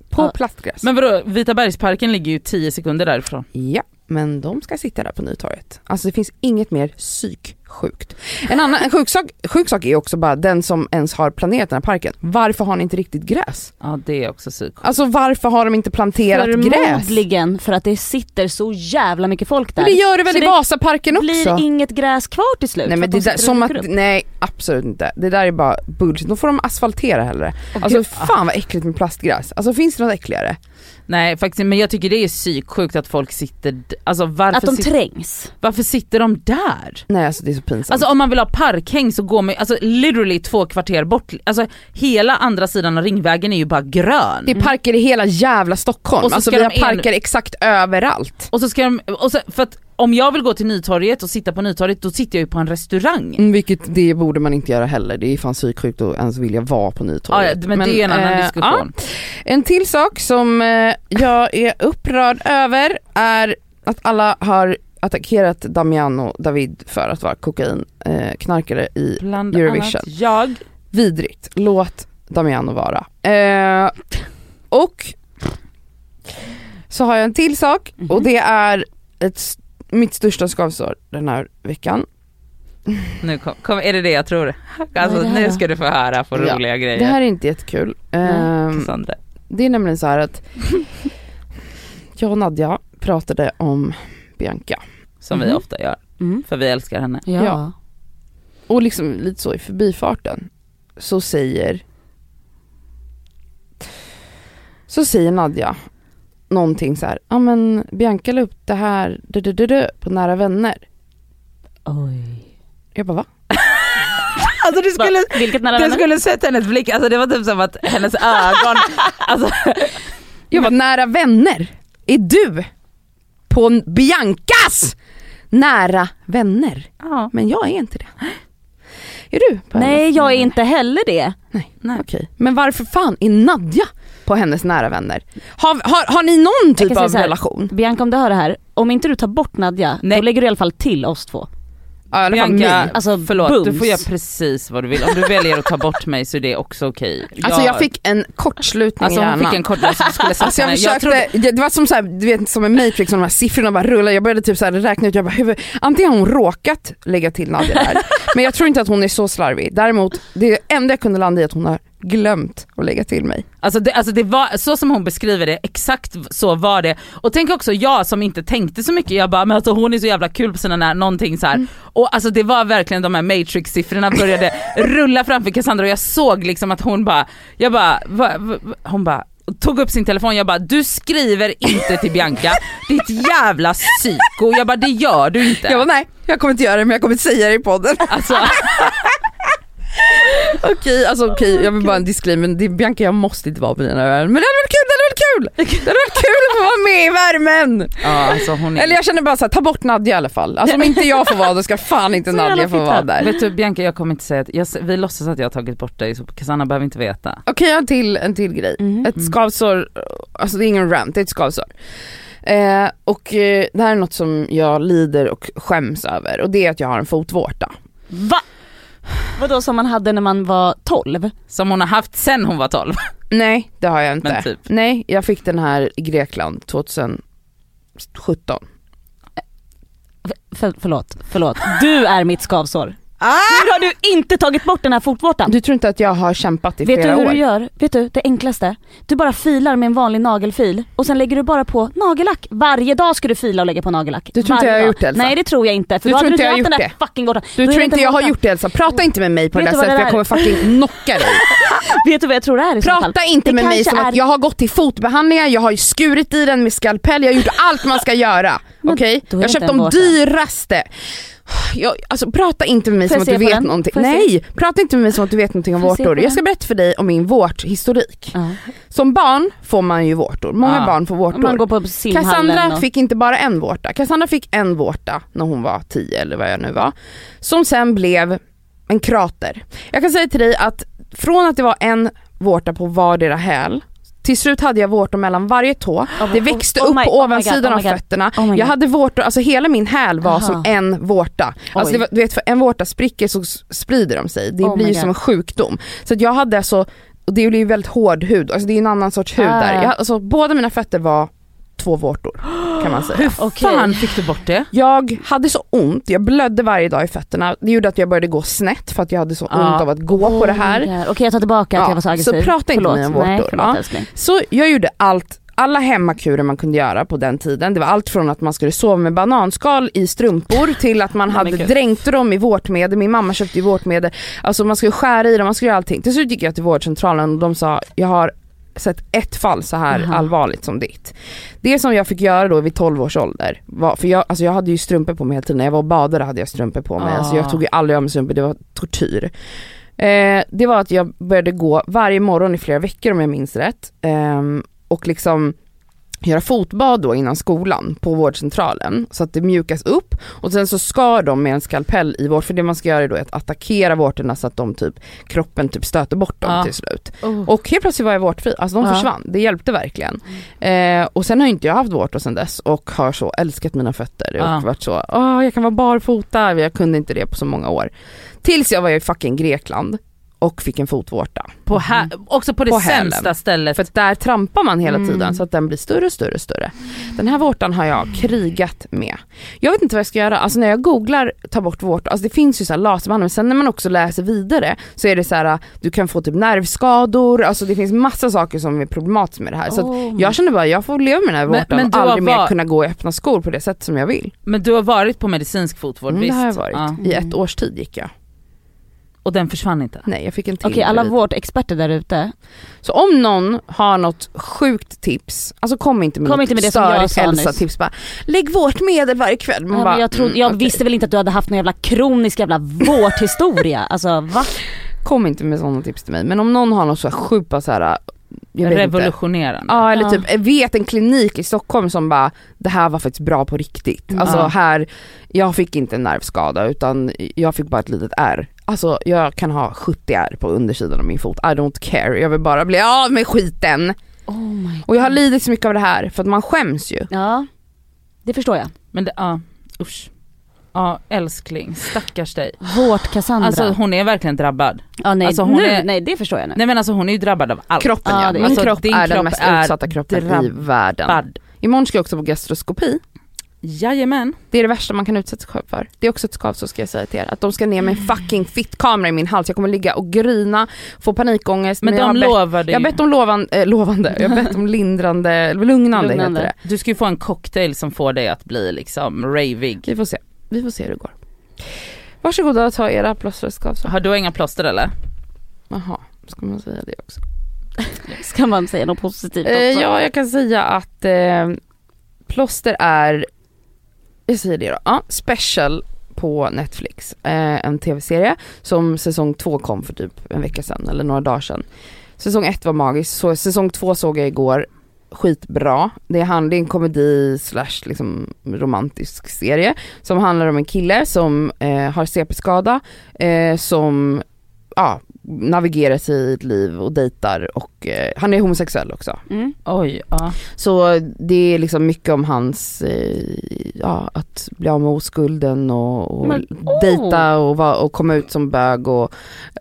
[SPEAKER 3] på
[SPEAKER 4] Ja.
[SPEAKER 3] plastgräs.
[SPEAKER 2] Men vadå, Vita Bergsparken ligger ju 10 sekunder därifrån.
[SPEAKER 3] Ja, men de ska sitta där på Nytorget. Alltså det finns inget mer psyksjukt. En annan en sjuk, sak, sjuk sak är också bara den som ens har planerat den här parken. Varför har ni inte riktigt gräs?
[SPEAKER 2] Ja det är också psyk.
[SPEAKER 3] Alltså varför har de inte planterat gräs?
[SPEAKER 4] Förmodligen för att det sitter så jävla mycket folk där.
[SPEAKER 3] Men det gör det väl
[SPEAKER 4] Så
[SPEAKER 3] i
[SPEAKER 4] det
[SPEAKER 3] Vasaparken också?
[SPEAKER 4] blir inget gräs kvar till slut.
[SPEAKER 3] Nej
[SPEAKER 4] för
[SPEAKER 3] men
[SPEAKER 4] att de
[SPEAKER 3] det där,
[SPEAKER 4] sitter
[SPEAKER 3] som
[SPEAKER 4] och
[SPEAKER 3] att,
[SPEAKER 4] rycker upp.
[SPEAKER 3] nej absolut inte. Det där är bara bullshit. Då får de asfaltera hellre. Alltså fan vad äckligt med plastgräs. Alltså finns det något äckligare?
[SPEAKER 2] Nej faktiskt, men jag tycker det är psyksjukt att folk sitter, d- alltså varför,
[SPEAKER 4] Att de
[SPEAKER 2] sit,
[SPEAKER 4] trängs.
[SPEAKER 2] varför sitter de där?
[SPEAKER 3] Nej alltså det är så pinsamt.
[SPEAKER 2] Alltså om man vill ha parkhäng så går man alltså literally två kvarter bort, alltså hela andra sidan av ringvägen är ju bara grön.
[SPEAKER 4] mm.
[SPEAKER 3] det är parker i hela jävla Stockholm.
[SPEAKER 2] Och så
[SPEAKER 3] Alltså
[SPEAKER 2] ska
[SPEAKER 3] vi
[SPEAKER 2] de
[SPEAKER 3] har
[SPEAKER 2] en-
[SPEAKER 3] parker exakt överallt.
[SPEAKER 2] Och så ska de, och så, för att om jag vill gå till Nytorget och sitta på Nytorget då sitter jag ju på en restaurang.
[SPEAKER 3] Mm, vilket det borde man inte göra heller, det är fan psyksjukt att ens vilja vara på
[SPEAKER 2] Ja,
[SPEAKER 3] Nytorget.
[SPEAKER 2] ja, men, det är en annan
[SPEAKER 3] eh,
[SPEAKER 2] diskussion.
[SPEAKER 3] ja. En till sak som eh, jag är upprörd över är att alla har attackerat Damiano David för att vara kokainknarkare eh, knarkare i
[SPEAKER 2] Bland
[SPEAKER 3] Eurovision.
[SPEAKER 2] annat jag.
[SPEAKER 3] vidrigt, låt Damiano vara. Eh, och så har jag en till sak
[SPEAKER 2] Mhm.
[SPEAKER 3] och det är ett, s- mitt största skavsår den här veckan.
[SPEAKER 2] Nu kom, kom, är det det jag tror? Alltså
[SPEAKER 4] Vad är det här
[SPEAKER 2] nu
[SPEAKER 4] då?
[SPEAKER 2] ska du få höra på
[SPEAKER 3] Ja,
[SPEAKER 2] roliga grejer. mm.
[SPEAKER 3] Det här är inte jättekul. Ehm,
[SPEAKER 2] Cassandra.
[SPEAKER 3] Det är nämligen så här att jag och Nadja pratade om Bianca
[SPEAKER 2] Som vi
[SPEAKER 4] Mhm.
[SPEAKER 2] ofta gör,
[SPEAKER 4] Mm.
[SPEAKER 2] för vi älskar henne.
[SPEAKER 4] Ja.
[SPEAKER 3] Ja. och liksom lite så i förbifarten så säger så säger Nadja någonting så här, ja ah, men Bianca la upp det här du, du, du, du, på nära vänner.
[SPEAKER 4] Oj.
[SPEAKER 3] Jag bara va?
[SPEAKER 2] Alltså du skulle,
[SPEAKER 4] Va? Vilket nära
[SPEAKER 2] du
[SPEAKER 4] vänner?
[SPEAKER 2] skulle sett hennes blick, alltså det var typ som att hennes ögon, alltså
[SPEAKER 3] Jag bara nära vänner, är du på Biancas nära vänner?
[SPEAKER 2] ja,
[SPEAKER 3] Men jag är inte det. Är du? på hennes
[SPEAKER 4] Nej
[SPEAKER 3] nära
[SPEAKER 4] jag är inte heller det.
[SPEAKER 2] nej.
[SPEAKER 3] Okej, men varför fan är Nadja på hennes nära vänner? Har, har, har ni någon typ
[SPEAKER 4] säga
[SPEAKER 3] av
[SPEAKER 4] så här.
[SPEAKER 3] relation?
[SPEAKER 4] Bianca om du hör det här, om inte du tar bort Nadja,
[SPEAKER 2] Nej.
[SPEAKER 4] då lägger du i alla fall till oss två.
[SPEAKER 3] Ja, i alla fall
[SPEAKER 2] Bianca,
[SPEAKER 3] mig.
[SPEAKER 4] Alltså,
[SPEAKER 2] förlåt du
[SPEAKER 4] bums.
[SPEAKER 2] får göra precis vad du vill. Om du väljer att ta bort mig så är det också okej.
[SPEAKER 3] Alltså jag fick en kortslutning
[SPEAKER 2] alltså,
[SPEAKER 3] i
[SPEAKER 2] hon
[SPEAKER 3] hjärnan.
[SPEAKER 2] fick en kort, alltså, du skulle sett
[SPEAKER 3] Alltså jag
[SPEAKER 2] henne.
[SPEAKER 3] försökte,
[SPEAKER 2] trodde-
[SPEAKER 3] det- det var som, så här, du vet, som en matrix, och de här siffrorna bara rullade. Jag började typ så här räkna ut, jag bara, huvud, antingen har hon råkat lägga till Nadja där, men jag tror inte att hon är så slarvig. Däremot, det enda jag kunde landa i är att hon har glömt att lägga till mig.
[SPEAKER 2] Alltså, det, alltså det var, så som hon beskriver det, exakt så var det. Och tänk också jag som inte tänkte så mycket, jag bara men alltså hon är så jävla kul på sina när, någonting så här.
[SPEAKER 3] Mm.
[SPEAKER 2] Och alltså det var verkligen de här matrix-siffrorna började rulla framför Cassandra och jag såg liksom att hon bara, jag bara, va, va, va, hon bara tog upp sin telefon, jag bara du skriver inte till Bianca, ditt jävla psyko, jag bara det gör du inte.
[SPEAKER 3] Jag bara nej, jag kommer inte göra det men jag kommer säga det i podden.
[SPEAKER 2] alltså,
[SPEAKER 3] Okej, alltså okej, jag vill bara en disclaimer. Det är Bianca, jag måste inte vara på dina öron. Men det hade varit kul, det hade varit kul! Det hade varit kul att få vara med i värmen!
[SPEAKER 2] ja, alltså hon är,
[SPEAKER 3] Eller jag känner bara såhär, ta bort Nadja i alla fall. Alltså om inte jag får vara då ska fan inte
[SPEAKER 4] Så jävla
[SPEAKER 3] Nadja få
[SPEAKER 4] fitta.
[SPEAKER 3] vara där.
[SPEAKER 2] Vet du Bianca jag kommer inte säga att, jag, vi låtsas att jag har tagit bort dig så Cassandra behöver inte veta.
[SPEAKER 3] Okej, jag har en till, en till grej.
[SPEAKER 4] Mm.
[SPEAKER 3] Ett skavsår, alltså det är ingen rant, det är ett skavsår. Eh, och eh, det här är något som jag lider och skäms över och det är att jag har en fotvårta.
[SPEAKER 2] Va?
[SPEAKER 4] Vadå som man hade när man var 12?
[SPEAKER 2] Som hon har haft sen hon var 12.
[SPEAKER 3] Nej, det har jag inte.
[SPEAKER 2] Men typ.
[SPEAKER 3] Nej, jag fick den här i Grekland 2017.
[SPEAKER 4] För, förlåt, förlåt. Du är mitt skavsår.
[SPEAKER 3] Ah!
[SPEAKER 4] Hur har du inte tagit bort den här fotvårtan?
[SPEAKER 3] Du tror inte att jag har kämpat i
[SPEAKER 4] Vet du
[SPEAKER 3] flera
[SPEAKER 4] hur
[SPEAKER 3] år?
[SPEAKER 4] du gör? Vet du, det enklaste. Du bara filar med en vanlig nagelfil och sen lägger du bara på nagellack. Varje dag ska du fila och lägga på nagellack.
[SPEAKER 3] Du tror inte jag
[SPEAKER 4] Varje
[SPEAKER 3] har
[SPEAKER 4] dag.
[SPEAKER 3] gjort det, Elsa?
[SPEAKER 4] Nej det tror jag inte. För
[SPEAKER 3] Du
[SPEAKER 4] då
[SPEAKER 3] tror
[SPEAKER 4] hade
[SPEAKER 3] inte jag
[SPEAKER 4] du
[SPEAKER 3] har
[SPEAKER 4] inte haft
[SPEAKER 3] gjort
[SPEAKER 4] den där fucking vårtan.
[SPEAKER 3] Du
[SPEAKER 4] Då är
[SPEAKER 3] tror
[SPEAKER 4] det
[SPEAKER 3] inte jag har
[SPEAKER 4] vårtan.
[SPEAKER 3] gjort det Elsa, prata inte med mig på det där
[SPEAKER 4] Vet du vad
[SPEAKER 3] sättet
[SPEAKER 4] det
[SPEAKER 3] för jag
[SPEAKER 4] är?
[SPEAKER 3] kommer fucking knocka dig.
[SPEAKER 4] Vet du vad jag tror det är i så fall?
[SPEAKER 3] Prata inte
[SPEAKER 4] Det
[SPEAKER 3] med mig
[SPEAKER 4] kanske
[SPEAKER 3] som
[SPEAKER 4] är-
[SPEAKER 3] att jag har gått till fotbehandlingar, jag har ju skurit i den med skalpell, jag har gjort allt man ska göra.
[SPEAKER 4] Men
[SPEAKER 3] Okej?
[SPEAKER 4] då är det
[SPEAKER 3] Jag har köpt
[SPEAKER 4] inte en
[SPEAKER 3] de
[SPEAKER 4] vårta.
[SPEAKER 3] dyraste. Jag, alltså prata inte med mig
[SPEAKER 4] Får
[SPEAKER 3] som
[SPEAKER 4] jag
[SPEAKER 3] att du
[SPEAKER 4] se på
[SPEAKER 3] vet
[SPEAKER 4] den?
[SPEAKER 3] någonting.
[SPEAKER 4] Får jag se?
[SPEAKER 3] Nej, prata inte med mig som att du vet någonting om
[SPEAKER 4] Får jag se
[SPEAKER 3] vårtor.
[SPEAKER 4] på
[SPEAKER 3] Jag
[SPEAKER 4] den?
[SPEAKER 3] ska berätta för dig om min vårthistorik.
[SPEAKER 4] Ja.
[SPEAKER 3] Som barn får man ju vårtor, många
[SPEAKER 2] Ja.
[SPEAKER 3] barn får vårtor.
[SPEAKER 4] Om man går på simhallen
[SPEAKER 3] Cassandra
[SPEAKER 4] och...
[SPEAKER 3] fick inte bara en vårta, Cassandra fick en vårta när hon var 10 eller vad jag nu var. Som sen blev en krater. Jag kan säga till dig att från att det var en vårta på vardera häl, till slut hade jag vårtor mellan varje tå. Det växte
[SPEAKER 4] oh
[SPEAKER 3] upp
[SPEAKER 4] my-
[SPEAKER 3] på
[SPEAKER 4] oh my
[SPEAKER 3] ovansidan
[SPEAKER 4] God, oh
[SPEAKER 3] av
[SPEAKER 4] my God,
[SPEAKER 3] fötterna.
[SPEAKER 4] oh my God.
[SPEAKER 3] jag hade vårtor, alltså hela min häl var
[SPEAKER 4] Aha.
[SPEAKER 3] som en vårta. Alltså
[SPEAKER 4] Oj.
[SPEAKER 3] det var, du vet för en vårta spricker så s- sprider de sig. Det
[SPEAKER 4] Oh my
[SPEAKER 3] blir ju
[SPEAKER 4] God.
[SPEAKER 3] som en sjukdom. Så att jag hade alltså, och det blir ju väldigt hård hud, alltså det är en annan sorts hud
[SPEAKER 4] Ah.
[SPEAKER 3] där. Jag, alltså, båda mina fötter var två vårtor kan man säga.
[SPEAKER 4] Okej.
[SPEAKER 2] Fan fick du bort det?
[SPEAKER 3] Jag hade så ont, jag blödde varje dag i fötterna. Det gjorde att jag började gå snett för att jag hade så
[SPEAKER 2] Ja.
[SPEAKER 3] ont av att gå på det här.
[SPEAKER 4] Oh my God. Okej jag tar tillbaka att
[SPEAKER 3] Ja,
[SPEAKER 4] jag var så
[SPEAKER 3] så
[SPEAKER 4] aggressiv.
[SPEAKER 3] prata inte
[SPEAKER 4] förlåt.
[SPEAKER 3] med mig om vårtor,
[SPEAKER 4] Nej förlåt
[SPEAKER 3] ja.
[SPEAKER 4] älskling.
[SPEAKER 3] Så jag gjorde allt, alla hemmakurer man kunde göra på den tiden. Det var allt från att man skulle sova med bananskal i strumpor till att man
[SPEAKER 2] men
[SPEAKER 3] hade
[SPEAKER 2] gud.
[SPEAKER 3] dränkt dem i vårtmedel. Min mamma köpte ju vårtmedel. Alltså man skulle skära i dem, man skulle göra allting. Till slut gick jag till vårdcentralen och de sa, jag har sett ett fall så här
[SPEAKER 4] Aha.
[SPEAKER 3] allvarligt som ditt. Det som jag fick göra då vid 12 års ålder, var, för jag, alltså jag hade ju strumpor på mig hela tiden, när jag var och badade hade jag strumpor på mig.
[SPEAKER 2] Ah.
[SPEAKER 3] Alltså jag tog ju aldrig av mig strumpor, det var tortyr. Eh, det var att jag började gå varje morgon i flera veckor om jag minns rätt. Ehm, och liksom göra fotbad då innan skolan på vårdcentralen så att det mjukas upp och sen så skar de med en skalpell i vårt, för det man ska göra är då att attackera vårtorna så att de typ, kroppen typ stöter bort dem
[SPEAKER 2] Ja.
[SPEAKER 3] till slut. Och helt plötsligt var jag vårtfri, alltså de
[SPEAKER 2] Ja.
[SPEAKER 3] försvann, det hjälpte verkligen. Eh, och sen har inte jag haft vårtor sen dess och har så älskat mina fötter och
[SPEAKER 2] Ja.
[SPEAKER 3] varit så, åh jag kan vara barfota, jag kunde inte det på så många år. Tills jag var i fucking Grekland och fick en fotvårta.
[SPEAKER 2] På här, också Mm. på det
[SPEAKER 3] På hälen.
[SPEAKER 2] sämsta stället.
[SPEAKER 3] För att där trampar man hela
[SPEAKER 2] Mm.
[SPEAKER 3] tiden så att den blir större och större och större. Den här vårtan har jag krigat med. Jag vet inte vad jag ska göra, alltså när jag googlar ta bort vårtor, alltså det finns ju så här laserbehandling men sen när man också läser vidare så är det så här, du kan få typ nervskador, alltså det finns massa saker som är problematiskt med det här. Så att
[SPEAKER 4] Oh my
[SPEAKER 3] jag känner bara jag får leva med den här
[SPEAKER 2] Men-
[SPEAKER 3] vårtan
[SPEAKER 2] men
[SPEAKER 3] och
[SPEAKER 2] du har
[SPEAKER 3] aldrig mer
[SPEAKER 2] var-
[SPEAKER 3] kunna gå i öppna skor på det sätt som jag vill.
[SPEAKER 2] Men du har varit på medicinsk fotvård
[SPEAKER 3] Mm,
[SPEAKER 2] visst?
[SPEAKER 3] det har jag varit.
[SPEAKER 2] Ja.
[SPEAKER 3] I ett års tid gick jag.
[SPEAKER 2] Och den försvann inte?
[SPEAKER 3] Nej jag fick en till.
[SPEAKER 4] Okej alla
[SPEAKER 3] bredvid.
[SPEAKER 4] vårdexperter där ute,
[SPEAKER 3] Så om någon har något sjukt tips, alltså kom inte med
[SPEAKER 4] Kom
[SPEAKER 3] något
[SPEAKER 4] inte med det som jag
[SPEAKER 3] störigt
[SPEAKER 4] sa nyss.
[SPEAKER 3] Elsa-tips bara, lägg vårt medel varje kväll. Man
[SPEAKER 4] Nej,
[SPEAKER 3] bara,
[SPEAKER 4] men jag trodde,
[SPEAKER 3] mm,
[SPEAKER 4] jag
[SPEAKER 3] okej.
[SPEAKER 4] visste väl inte att du hade haft någon jävla kronisk jävla vårthistoria. Alltså va?
[SPEAKER 3] "Mm, Kom inte med sådana tips till mig, men om någon har något så här sjukt bara så här, jag vet inte.
[SPEAKER 2] Revolutionerande.
[SPEAKER 3] Ja eller
[SPEAKER 4] Ja.
[SPEAKER 3] typ vet en klinik i Stockholm som bara, det här var faktiskt bra på riktigt.
[SPEAKER 4] Mm.
[SPEAKER 3] Alltså
[SPEAKER 2] Ja.
[SPEAKER 3] här, jag fick inte en nervskada utan jag fick bara ett litet R. Alltså jag kan ha 70 R på undersidan av min fot, I don't care, jag vill bara bli av med skiten.
[SPEAKER 4] Oh my
[SPEAKER 3] Och jag har lidit så mycket av det här för att man skäms ju.
[SPEAKER 4] Ja, det förstår jag.
[SPEAKER 2] Men det, ja, usch. Ja älskling, stackars dig.
[SPEAKER 4] Vårt Cassandra.
[SPEAKER 2] Alltså hon är verkligen drabbad.
[SPEAKER 4] ja, nej,
[SPEAKER 2] alltså, hon
[SPEAKER 4] nu,
[SPEAKER 2] är-
[SPEAKER 4] nej det förstår jag nu.
[SPEAKER 2] Nej men alltså hon är ju drabbad av allt.
[SPEAKER 3] Kroppen
[SPEAKER 4] Ja,
[SPEAKER 3] ja,
[SPEAKER 4] det är-
[SPEAKER 3] min
[SPEAKER 2] Alltså,
[SPEAKER 3] kropp
[SPEAKER 2] din
[SPEAKER 3] är den
[SPEAKER 2] kropp
[SPEAKER 3] mest
[SPEAKER 2] är
[SPEAKER 3] utsatta kroppen i
[SPEAKER 2] drabbad.
[SPEAKER 3] världen. Imorgon ska jag också på gastroskopi.
[SPEAKER 2] Jajamän.
[SPEAKER 3] Det är det värsta man kan utsätta sig själv för. Det är också ett skav så ska jag säga till er. Att de ska ner med en fucking fittkamera i min hals. Jag kommer ligga och grina, få panikångest.
[SPEAKER 2] Men,
[SPEAKER 3] jag har
[SPEAKER 2] de
[SPEAKER 3] bett-
[SPEAKER 2] lovade ju.
[SPEAKER 3] Jag har bett om lovan, eh, lovande, jag har bett om lindrande, lugnande,
[SPEAKER 4] Lugnande.
[SPEAKER 3] heter det.
[SPEAKER 2] Du ska ju få en cocktail som får dig att bli liksom ravig.
[SPEAKER 3] Vi får se, vi får se hur det går. Varsågoda och ta era plåstrade skavsår.
[SPEAKER 2] Har du inga plåster eller?
[SPEAKER 3] Jaha, ska man säga det också?
[SPEAKER 4] Ska man säga något positivt också?
[SPEAKER 3] Eh, ja, jag kan säga att eh, plåster är, jag säger det då, ja, special på Netflix. Eh, en tv-serie som säsong två kom för typ en vecka sedan eller några dagar sedan. Säsong ett var magisk, så säsong två såg jag igår. Skitbra. Det är, han, det är en komedi slash liksom romantisk serie som handlar om en kille som eh, har CP-skada eh, som ja, navigerar sig i ett liv och dejtar och eh, han är homosexuell också.
[SPEAKER 4] Mm.
[SPEAKER 2] Oj, ja.
[SPEAKER 3] Så det är liksom mycket om hans, eh, ja att bli av med oskulden och, och
[SPEAKER 4] Men, oh! åh!
[SPEAKER 3] dejta och, va, och komma ut som bög och,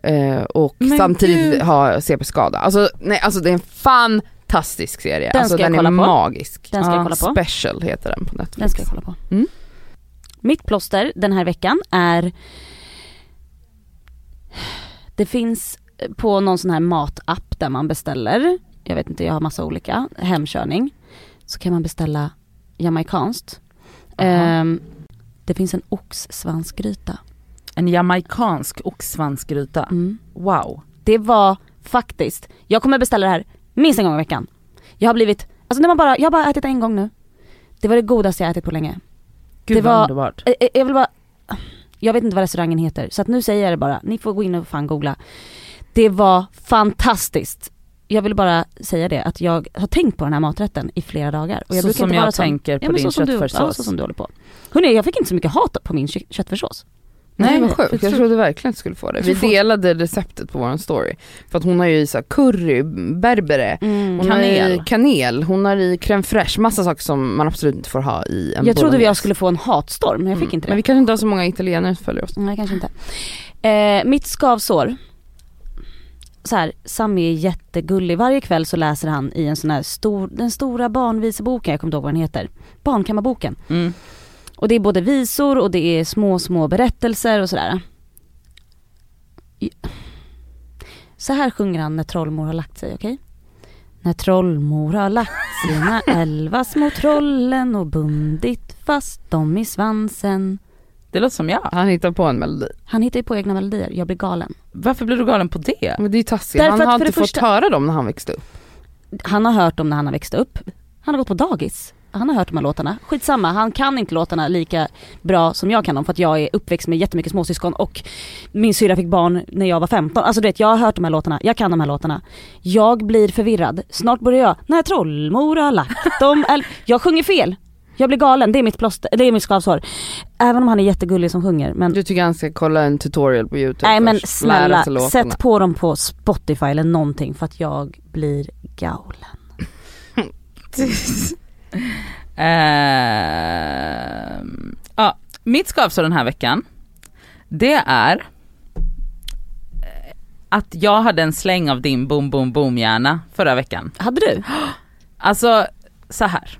[SPEAKER 3] eh, och
[SPEAKER 2] Men
[SPEAKER 3] samtidigt
[SPEAKER 2] gud.
[SPEAKER 3] ha CP-skada. Alltså, nej, alltså det är en fantastisk serie.
[SPEAKER 4] Den
[SPEAKER 3] alltså,
[SPEAKER 4] ska jag
[SPEAKER 3] den är
[SPEAKER 4] kolla på.
[SPEAKER 3] magisk.
[SPEAKER 4] Den ska jag
[SPEAKER 3] Ja,
[SPEAKER 4] kolla på.
[SPEAKER 3] Special heter den på Netflix.
[SPEAKER 4] Den ska jag kolla på.
[SPEAKER 3] Mm.
[SPEAKER 4] Mitt plåster den här veckan är Det finns på någon sån här matapp där man beställer, jag vet inte, jag har massa olika, hemkörning. Så kan man beställa jamaikanskt.
[SPEAKER 2] Aha.
[SPEAKER 4] Ehm, det finns en oxsvansgryta.
[SPEAKER 2] En jamaikansk oxsvansgryta.
[SPEAKER 4] Mm.
[SPEAKER 2] Wow.
[SPEAKER 4] Det var faktiskt, jag kommer beställa det här minst en gång i veckan. Jag har blivit, alltså när man bara, jag har bara ätit en gång nu. Det var det godaste jag ätit på länge.
[SPEAKER 2] Gud
[SPEAKER 4] Det
[SPEAKER 2] vad
[SPEAKER 4] var-
[SPEAKER 2] underbart.
[SPEAKER 4] Eh, eh, Jag vill bara, jag vet inte vad restaurangen heter så att nu säger jag det bara, ni får gå in och fan googla. Det var fantastiskt. Jag vill bara säga det att jag har tänkt på den här maträtten i flera dagar. Och jag
[SPEAKER 2] så
[SPEAKER 4] brukar
[SPEAKER 2] som
[SPEAKER 4] inte
[SPEAKER 2] jag
[SPEAKER 4] vara sån-
[SPEAKER 2] tänker på
[SPEAKER 4] ja, men
[SPEAKER 2] din
[SPEAKER 4] så som du- Ja,
[SPEAKER 2] köttfärssås.
[SPEAKER 4] så som du håller på. Hörrni, jag fick inte så mycket hat på min kö- köttfärssås.
[SPEAKER 3] Nej
[SPEAKER 2] Nej,
[SPEAKER 3] vad sjukt,
[SPEAKER 2] jag
[SPEAKER 3] jag
[SPEAKER 2] tror-
[SPEAKER 3] trodde verkligen att du skulle få det. Vi
[SPEAKER 4] Jag tror-
[SPEAKER 3] delade receptet på våran story. För att hon har ju i så här curry, berbere, hon har i
[SPEAKER 2] Mm. Kanel.
[SPEAKER 3] kanel, hon har i crème fraîche, massa saker som man absolut inte får ha i en
[SPEAKER 4] Jag trodde
[SPEAKER 3] bolognese.
[SPEAKER 4] jag skulle få en hatstorm men jag fick
[SPEAKER 3] Mm.
[SPEAKER 4] inte det.
[SPEAKER 3] Men vi kanske inte har så många italienare som följer oss.
[SPEAKER 4] Nej kanske inte. Eh, mitt skavsår. Så här, Sami är jättegullig. Varje kväll så läser han i en sån här stor, den stora barnviseboken, jag kommer inte ihåg vad den heter. Barnkammarboken.
[SPEAKER 2] Mm.
[SPEAKER 4] Och det är både visor och det är små, små berättelser och sådär. I- Så här sjunger han när Trollmor har lagt sig, okej? När Trollmor har lagt sina elva små trollen och bundit fast dem i svansen.
[SPEAKER 2] Det låter som jag.
[SPEAKER 3] Han hittar på en melodi.
[SPEAKER 4] Han hittar ju på egna melodier, jag blir galen.
[SPEAKER 2] Varför blir du galen på det?
[SPEAKER 3] Men det är ju taskigt,
[SPEAKER 4] Därför
[SPEAKER 3] han
[SPEAKER 4] att
[SPEAKER 3] har
[SPEAKER 4] för
[SPEAKER 3] inte
[SPEAKER 4] det
[SPEAKER 3] fått
[SPEAKER 4] första-
[SPEAKER 3] höra dem när han växte upp.
[SPEAKER 4] Han har hört dem när han har växt upp. Han har gått på dagis. Han har hört de här låtarna. Skitsamma, han kan inte låtarna lika bra som jag kan dem för att jag är uppväxt med jättemycket småsyskon och min syrra fick barn när jag var 15. Alltså du vet, jag har hört de här låtarna, jag kan de här låtarna. Jag blir förvirrad. Snart börjar jag, när trollmor har lagt dem eller... Jag sjunger fel! Jag blir galen, det är mitt plåster, det är mitt skavsår. Även om han är jättegullig som sjunger men
[SPEAKER 3] Du tycker han ska kolla en tutorial på youtube
[SPEAKER 4] Nej men
[SPEAKER 3] först, lära
[SPEAKER 4] snälla,
[SPEAKER 3] sig låtarna.
[SPEAKER 4] sätt på dem på Spotify eller någonting för att jag blir galen.
[SPEAKER 2] Ehm, ja, mitt skavsår den här veckan, det är eh, att jag hade en släng av din boom boom boom hjärna förra veckan.
[SPEAKER 4] Hade du?
[SPEAKER 2] Alltså så här.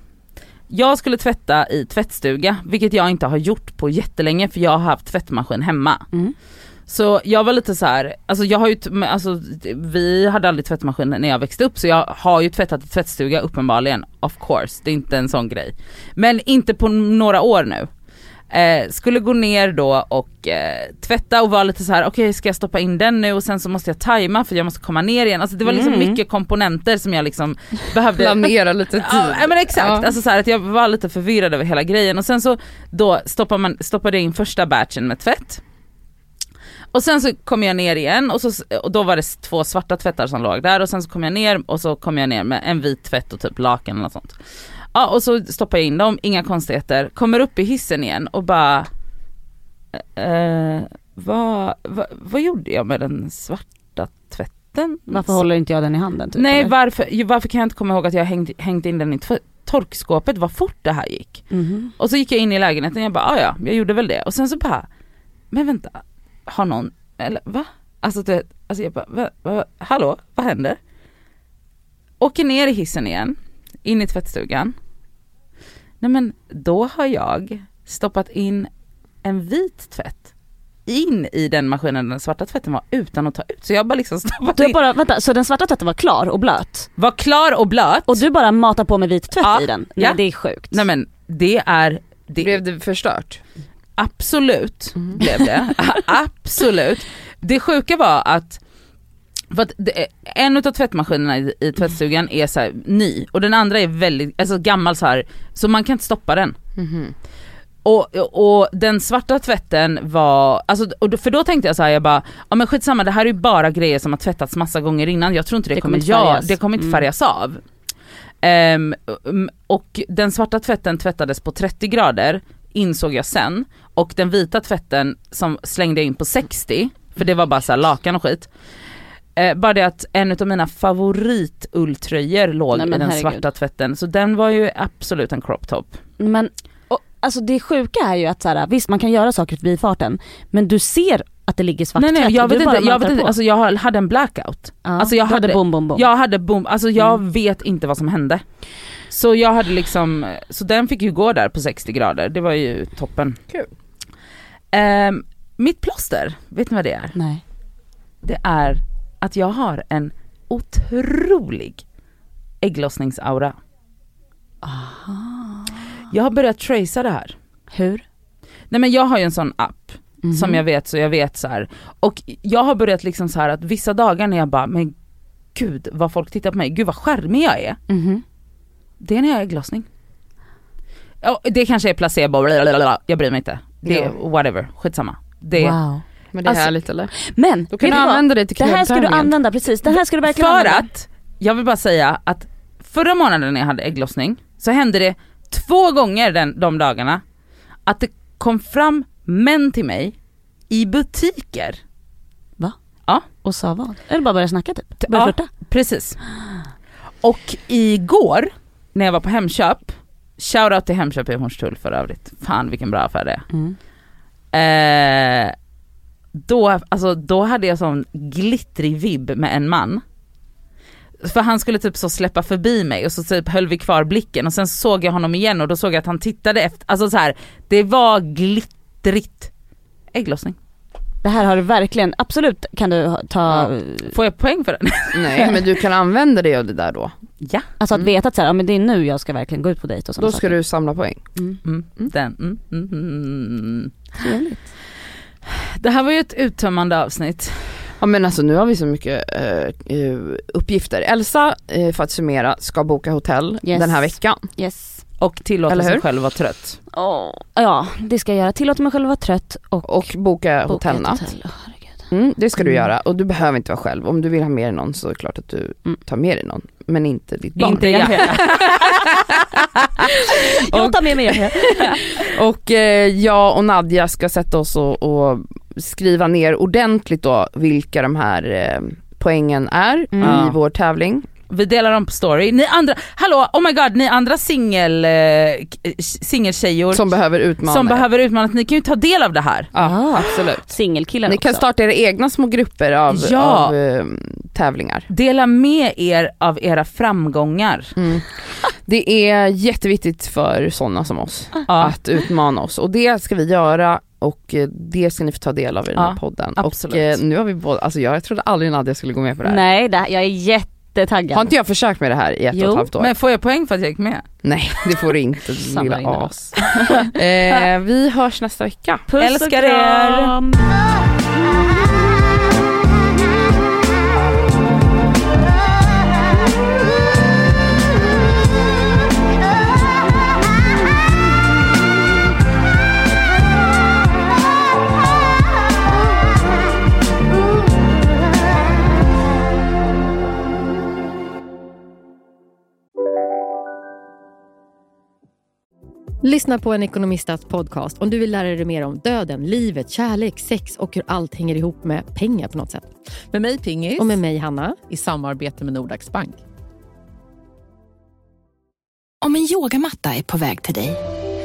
[SPEAKER 2] Jag skulle tvätta i tvättstuga, vilket jag inte har gjort på jättelänge för jag har haft tvättmaskin hemma.
[SPEAKER 4] Mm.
[SPEAKER 2] Så jag var lite så här, alltså jag har ju, t- men alltså, vi hade aldrig tvättmaskin när jag växte upp så jag har ju tvättat i tvättstuga uppenbarligen, of course, det är inte en sån grej. Men inte på n- några år nu. Eh, skulle gå ner då och eh, tvätta och vara lite så här: okej ska jag stoppa in den nu och sen så måste jag tajma för jag måste komma ner igen. Alltså det var liksom
[SPEAKER 3] Mm.
[SPEAKER 2] mycket komponenter som jag liksom behövde
[SPEAKER 3] Planera lite tid.
[SPEAKER 4] typ.
[SPEAKER 2] Ja nej, men exakt,
[SPEAKER 3] Ja.
[SPEAKER 2] alltså så här, att jag var lite förvirrad över hela grejen och sen så då stoppade, man, stoppade jag in första batchen med tvätt. Och sen så kom jag ner igen och, så, och då var det s- två svarta tvättar som låg där och sen så kom jag ner och så kom jag ner med en vit tvätt och typ lakan eller något sånt. Ja och så stoppar jag in dem, inga konstigheter, kommer upp i hissen igen och bara eh, vad, vad, vad gjorde jag med den svarta tvätten?
[SPEAKER 4] Varför håller inte jag den i handen? Typ,
[SPEAKER 2] Nej
[SPEAKER 4] eller?
[SPEAKER 2] varför, ju, varför kan jag inte komma ihåg att jag hängt, hängt in den i tv- torkskåpet, vad fort det här gick.
[SPEAKER 4] Mhm.
[SPEAKER 2] Och så gick jag in i lägenheten och jag bara, "Ah, ja jag gjorde väl det. Och sen så bara, men vänta, har någon, eller va? Alltså du vet, alltså jag bara, va, va, hallå, vad händer? Åker ner i hissen igen, in i tvättstugan. Nej men då har jag stoppat in en vit tvätt in i den maskinen den svarta tvätten var utan att ta ut. Så jag bara liksom stoppat
[SPEAKER 4] Du har
[SPEAKER 2] in,
[SPEAKER 4] bara, vänta, så den svarta tvätten var klar och blöt?
[SPEAKER 2] var klar och blöt.
[SPEAKER 4] Och du bara matar på med vit tvätt
[SPEAKER 2] Ja,
[SPEAKER 4] i den? Nej
[SPEAKER 2] ja.
[SPEAKER 4] det är sjukt.
[SPEAKER 2] Nej men det är, det,
[SPEAKER 3] Blev det förstört?
[SPEAKER 2] absolut
[SPEAKER 4] Mhm.
[SPEAKER 2] blev det. absolut. Det sjuka var att, för att det, en av tvättmaskinerna i, i tvättstugan är så här, ny och den andra är väldigt, alltså gammal så här, så man kan inte stoppa den.
[SPEAKER 4] Mhm.
[SPEAKER 2] Och, och den svarta tvätten var, alltså, och då- för då tänkte jag så här, jag bara, ja men skitsamma det här är ju bara grejer som har tvättats massa gånger innan, jag tror inte det,
[SPEAKER 4] Det kommer
[SPEAKER 2] kommer,
[SPEAKER 4] inte
[SPEAKER 2] ja,
[SPEAKER 4] färgas.
[SPEAKER 2] det kommer inte
[SPEAKER 4] Mm.
[SPEAKER 2] färgas av. Ehm, mm, och den svarta tvätten tvättades på 30 grader, insåg jag sen. Och den vita tvätten som slängde jag in på 60, för det var bara så här lakan och skit. Eh, bara det att en av mina favoritulltröjor låg
[SPEAKER 4] Nej,
[SPEAKER 2] i
[SPEAKER 4] men
[SPEAKER 2] den
[SPEAKER 4] herregud.
[SPEAKER 2] svarta tvätten, så den var ju absolut en crop top.
[SPEAKER 4] Men och, alltså det sjuka är ju att så här, visst man kan göra saker i bifarten men du ser att det ligger svart
[SPEAKER 2] Nej nej
[SPEAKER 4] tvätt
[SPEAKER 2] jag
[SPEAKER 4] och du
[SPEAKER 2] vet inte, jag,
[SPEAKER 4] bara matar
[SPEAKER 2] vet inte.
[SPEAKER 4] på.
[SPEAKER 2] Alltså, jag hade en blackout.
[SPEAKER 4] Ja.
[SPEAKER 2] alltså, jag
[SPEAKER 4] Du hade
[SPEAKER 2] hade-
[SPEAKER 4] bom bom bom.
[SPEAKER 2] Jag hade bom, alltså jag vet inte vad som hände. Så jag hade liksom, så den fick ju gå där på 60 grader, det var ju toppen.
[SPEAKER 1] Kul.
[SPEAKER 2] Ehm, mitt plåster, vet ni vad det är?
[SPEAKER 4] Nej.
[SPEAKER 2] Det är att jag har en otrolig ägglossningsaura. Jag har börjat tracea det här.
[SPEAKER 4] Hur?
[SPEAKER 2] Nej men jag har ju en sån app
[SPEAKER 4] Mhm.
[SPEAKER 2] som jag vet så jag vet så här. Och jag har börjat liksom så här att vissa dagar när jag bara, men gud vad folk tittar på mig, gud vad skärmig jag är.
[SPEAKER 4] Mhm.
[SPEAKER 2] Det är när jag har ägglossning. Ja, det kanske är placebo, blablabla. jag bryr mig inte. Det är
[SPEAKER 3] Ja.
[SPEAKER 2] whatever, skitsamma. Det är
[SPEAKER 4] Wow.
[SPEAKER 3] Men det är
[SPEAKER 2] Alltså-
[SPEAKER 3] härligt eller?
[SPEAKER 4] Men,
[SPEAKER 3] Då
[SPEAKER 4] vet
[SPEAKER 3] kan
[SPEAKER 4] du
[SPEAKER 3] du
[SPEAKER 4] vad?
[SPEAKER 3] använda det till
[SPEAKER 4] det här ska du
[SPEAKER 3] knäböjningen.
[SPEAKER 4] använda, precis. Det här ska du verkligen
[SPEAKER 2] För
[SPEAKER 4] använda.
[SPEAKER 2] att, jag vill bara säga att förra månaden när jag hade ägglossning så hände det två gånger den, de dagarna att det kom fram män till mig i butiker.
[SPEAKER 4] Och sa vad? Eller bara börja snacka typ. Börja
[SPEAKER 2] Ja.
[SPEAKER 4] flirta.
[SPEAKER 2] Precis. Och igår när jag var på Hemköp, shoutout till Hemköp i Hornstull för övrigt. Fan vilken bra affär det är.
[SPEAKER 4] Mm.
[SPEAKER 2] Eh, då, alltså, då hade jag sån glittrig vibb med en man. För han skulle typ så släppa förbi mig och så typ höll vi kvar blicken och sen såg jag honom igen och då såg jag att han tittade efter, alltså så här, det var glittrigt. Ägglossning.
[SPEAKER 4] Det här har du verkligen, absolut kan du ha- ta,
[SPEAKER 2] Får jag poäng för den?
[SPEAKER 3] Nej men du kan använda dig av det där då.
[SPEAKER 2] ja.
[SPEAKER 4] alltså att veta att så här, ja, men det är nu jag ska verkligen gå ut på dejt och sådana
[SPEAKER 3] Mm. Då ska du samla poäng.
[SPEAKER 2] Mm, Den. Mm, mm, mm, mm. Det här var ju ett uttömmande avsnitt.
[SPEAKER 3] Ja men alltså nu har vi så mycket eh, eh, uppgifter. Elsa, eh, för att summera, ska boka hotell
[SPEAKER 4] Yes.
[SPEAKER 3] den här veckan.
[SPEAKER 4] Yes.
[SPEAKER 2] Och tillåta
[SPEAKER 3] Eller hur?
[SPEAKER 2] sig själv vara trött.
[SPEAKER 4] Oh. Ja, det ska jag göra. Tillåt mig själv att vara trött och
[SPEAKER 3] Och boka
[SPEAKER 4] boka
[SPEAKER 3] hotellnatt.
[SPEAKER 4] ett hotell. Åh, herregud.
[SPEAKER 3] Mm, det ska du
[SPEAKER 4] Mm.
[SPEAKER 3] göra och du behöver inte vara själv. Om du vill ha med dig någon så är det klart att du
[SPEAKER 4] Mm.
[SPEAKER 3] tar med dig någon. Men inte ditt barn.
[SPEAKER 2] Inte jag.
[SPEAKER 4] Jag tar med mig det.
[SPEAKER 3] Och eh, jag och Nadja ska sätta oss och, och skriva ner ordentligt då vilka de här eh, poängen är
[SPEAKER 4] Mm.
[SPEAKER 3] i
[SPEAKER 2] Ja.
[SPEAKER 3] vår tävling.
[SPEAKER 2] Vi delar dem på story. Ni andra, hallå, oh my god, ni andra singel, eh, k- singeltjejor
[SPEAKER 3] Som behöver utmana
[SPEAKER 2] som
[SPEAKER 3] er.
[SPEAKER 2] behöver utmanas, ni kan ju ta del av det här.
[SPEAKER 3] Ja, absolut.
[SPEAKER 4] Singelkillen
[SPEAKER 3] Ni kan
[SPEAKER 4] också.
[SPEAKER 3] starta era egna små grupper av,
[SPEAKER 2] Ja.
[SPEAKER 3] av eh, tävlingar.
[SPEAKER 2] Dela med er av era framgångar.
[SPEAKER 3] Mm. Det är jätteviktigt för sådana som oss
[SPEAKER 2] Ja,
[SPEAKER 3] att utmana oss och det ska vi göra och eh, det ska ni få ta del av i den här
[SPEAKER 2] Ja,
[SPEAKER 3] podden.
[SPEAKER 2] absolut.
[SPEAKER 3] Och eh, nu har vi båda, alltså jag, jag trodde aldrig Nadja skulle gå med på det här.
[SPEAKER 4] Nej, det här, jag är jättetaggad.
[SPEAKER 3] Har inte jag försökt med det här i ett
[SPEAKER 4] Jo,
[SPEAKER 3] och ett halvt år?
[SPEAKER 2] men får jag poäng för att jag gick med?
[SPEAKER 3] Nej det får du inte
[SPEAKER 4] Sanna
[SPEAKER 3] lilla
[SPEAKER 4] vinner.
[SPEAKER 3] as. eh, vi hörs nästa vecka.
[SPEAKER 4] Puss och
[SPEAKER 2] Älskar er.
[SPEAKER 4] kram.
[SPEAKER 5] Lyssna på en ekonomistats podcast om du vill lära dig mer om döden, livet, kärlek, sex och hur allt hänger ihop med pengar på något sätt.
[SPEAKER 6] Med mig Pingis
[SPEAKER 5] Och med mig Hanna.
[SPEAKER 6] i samarbete med Nordax Bank.
[SPEAKER 7] Om en yogamatta är på väg till dig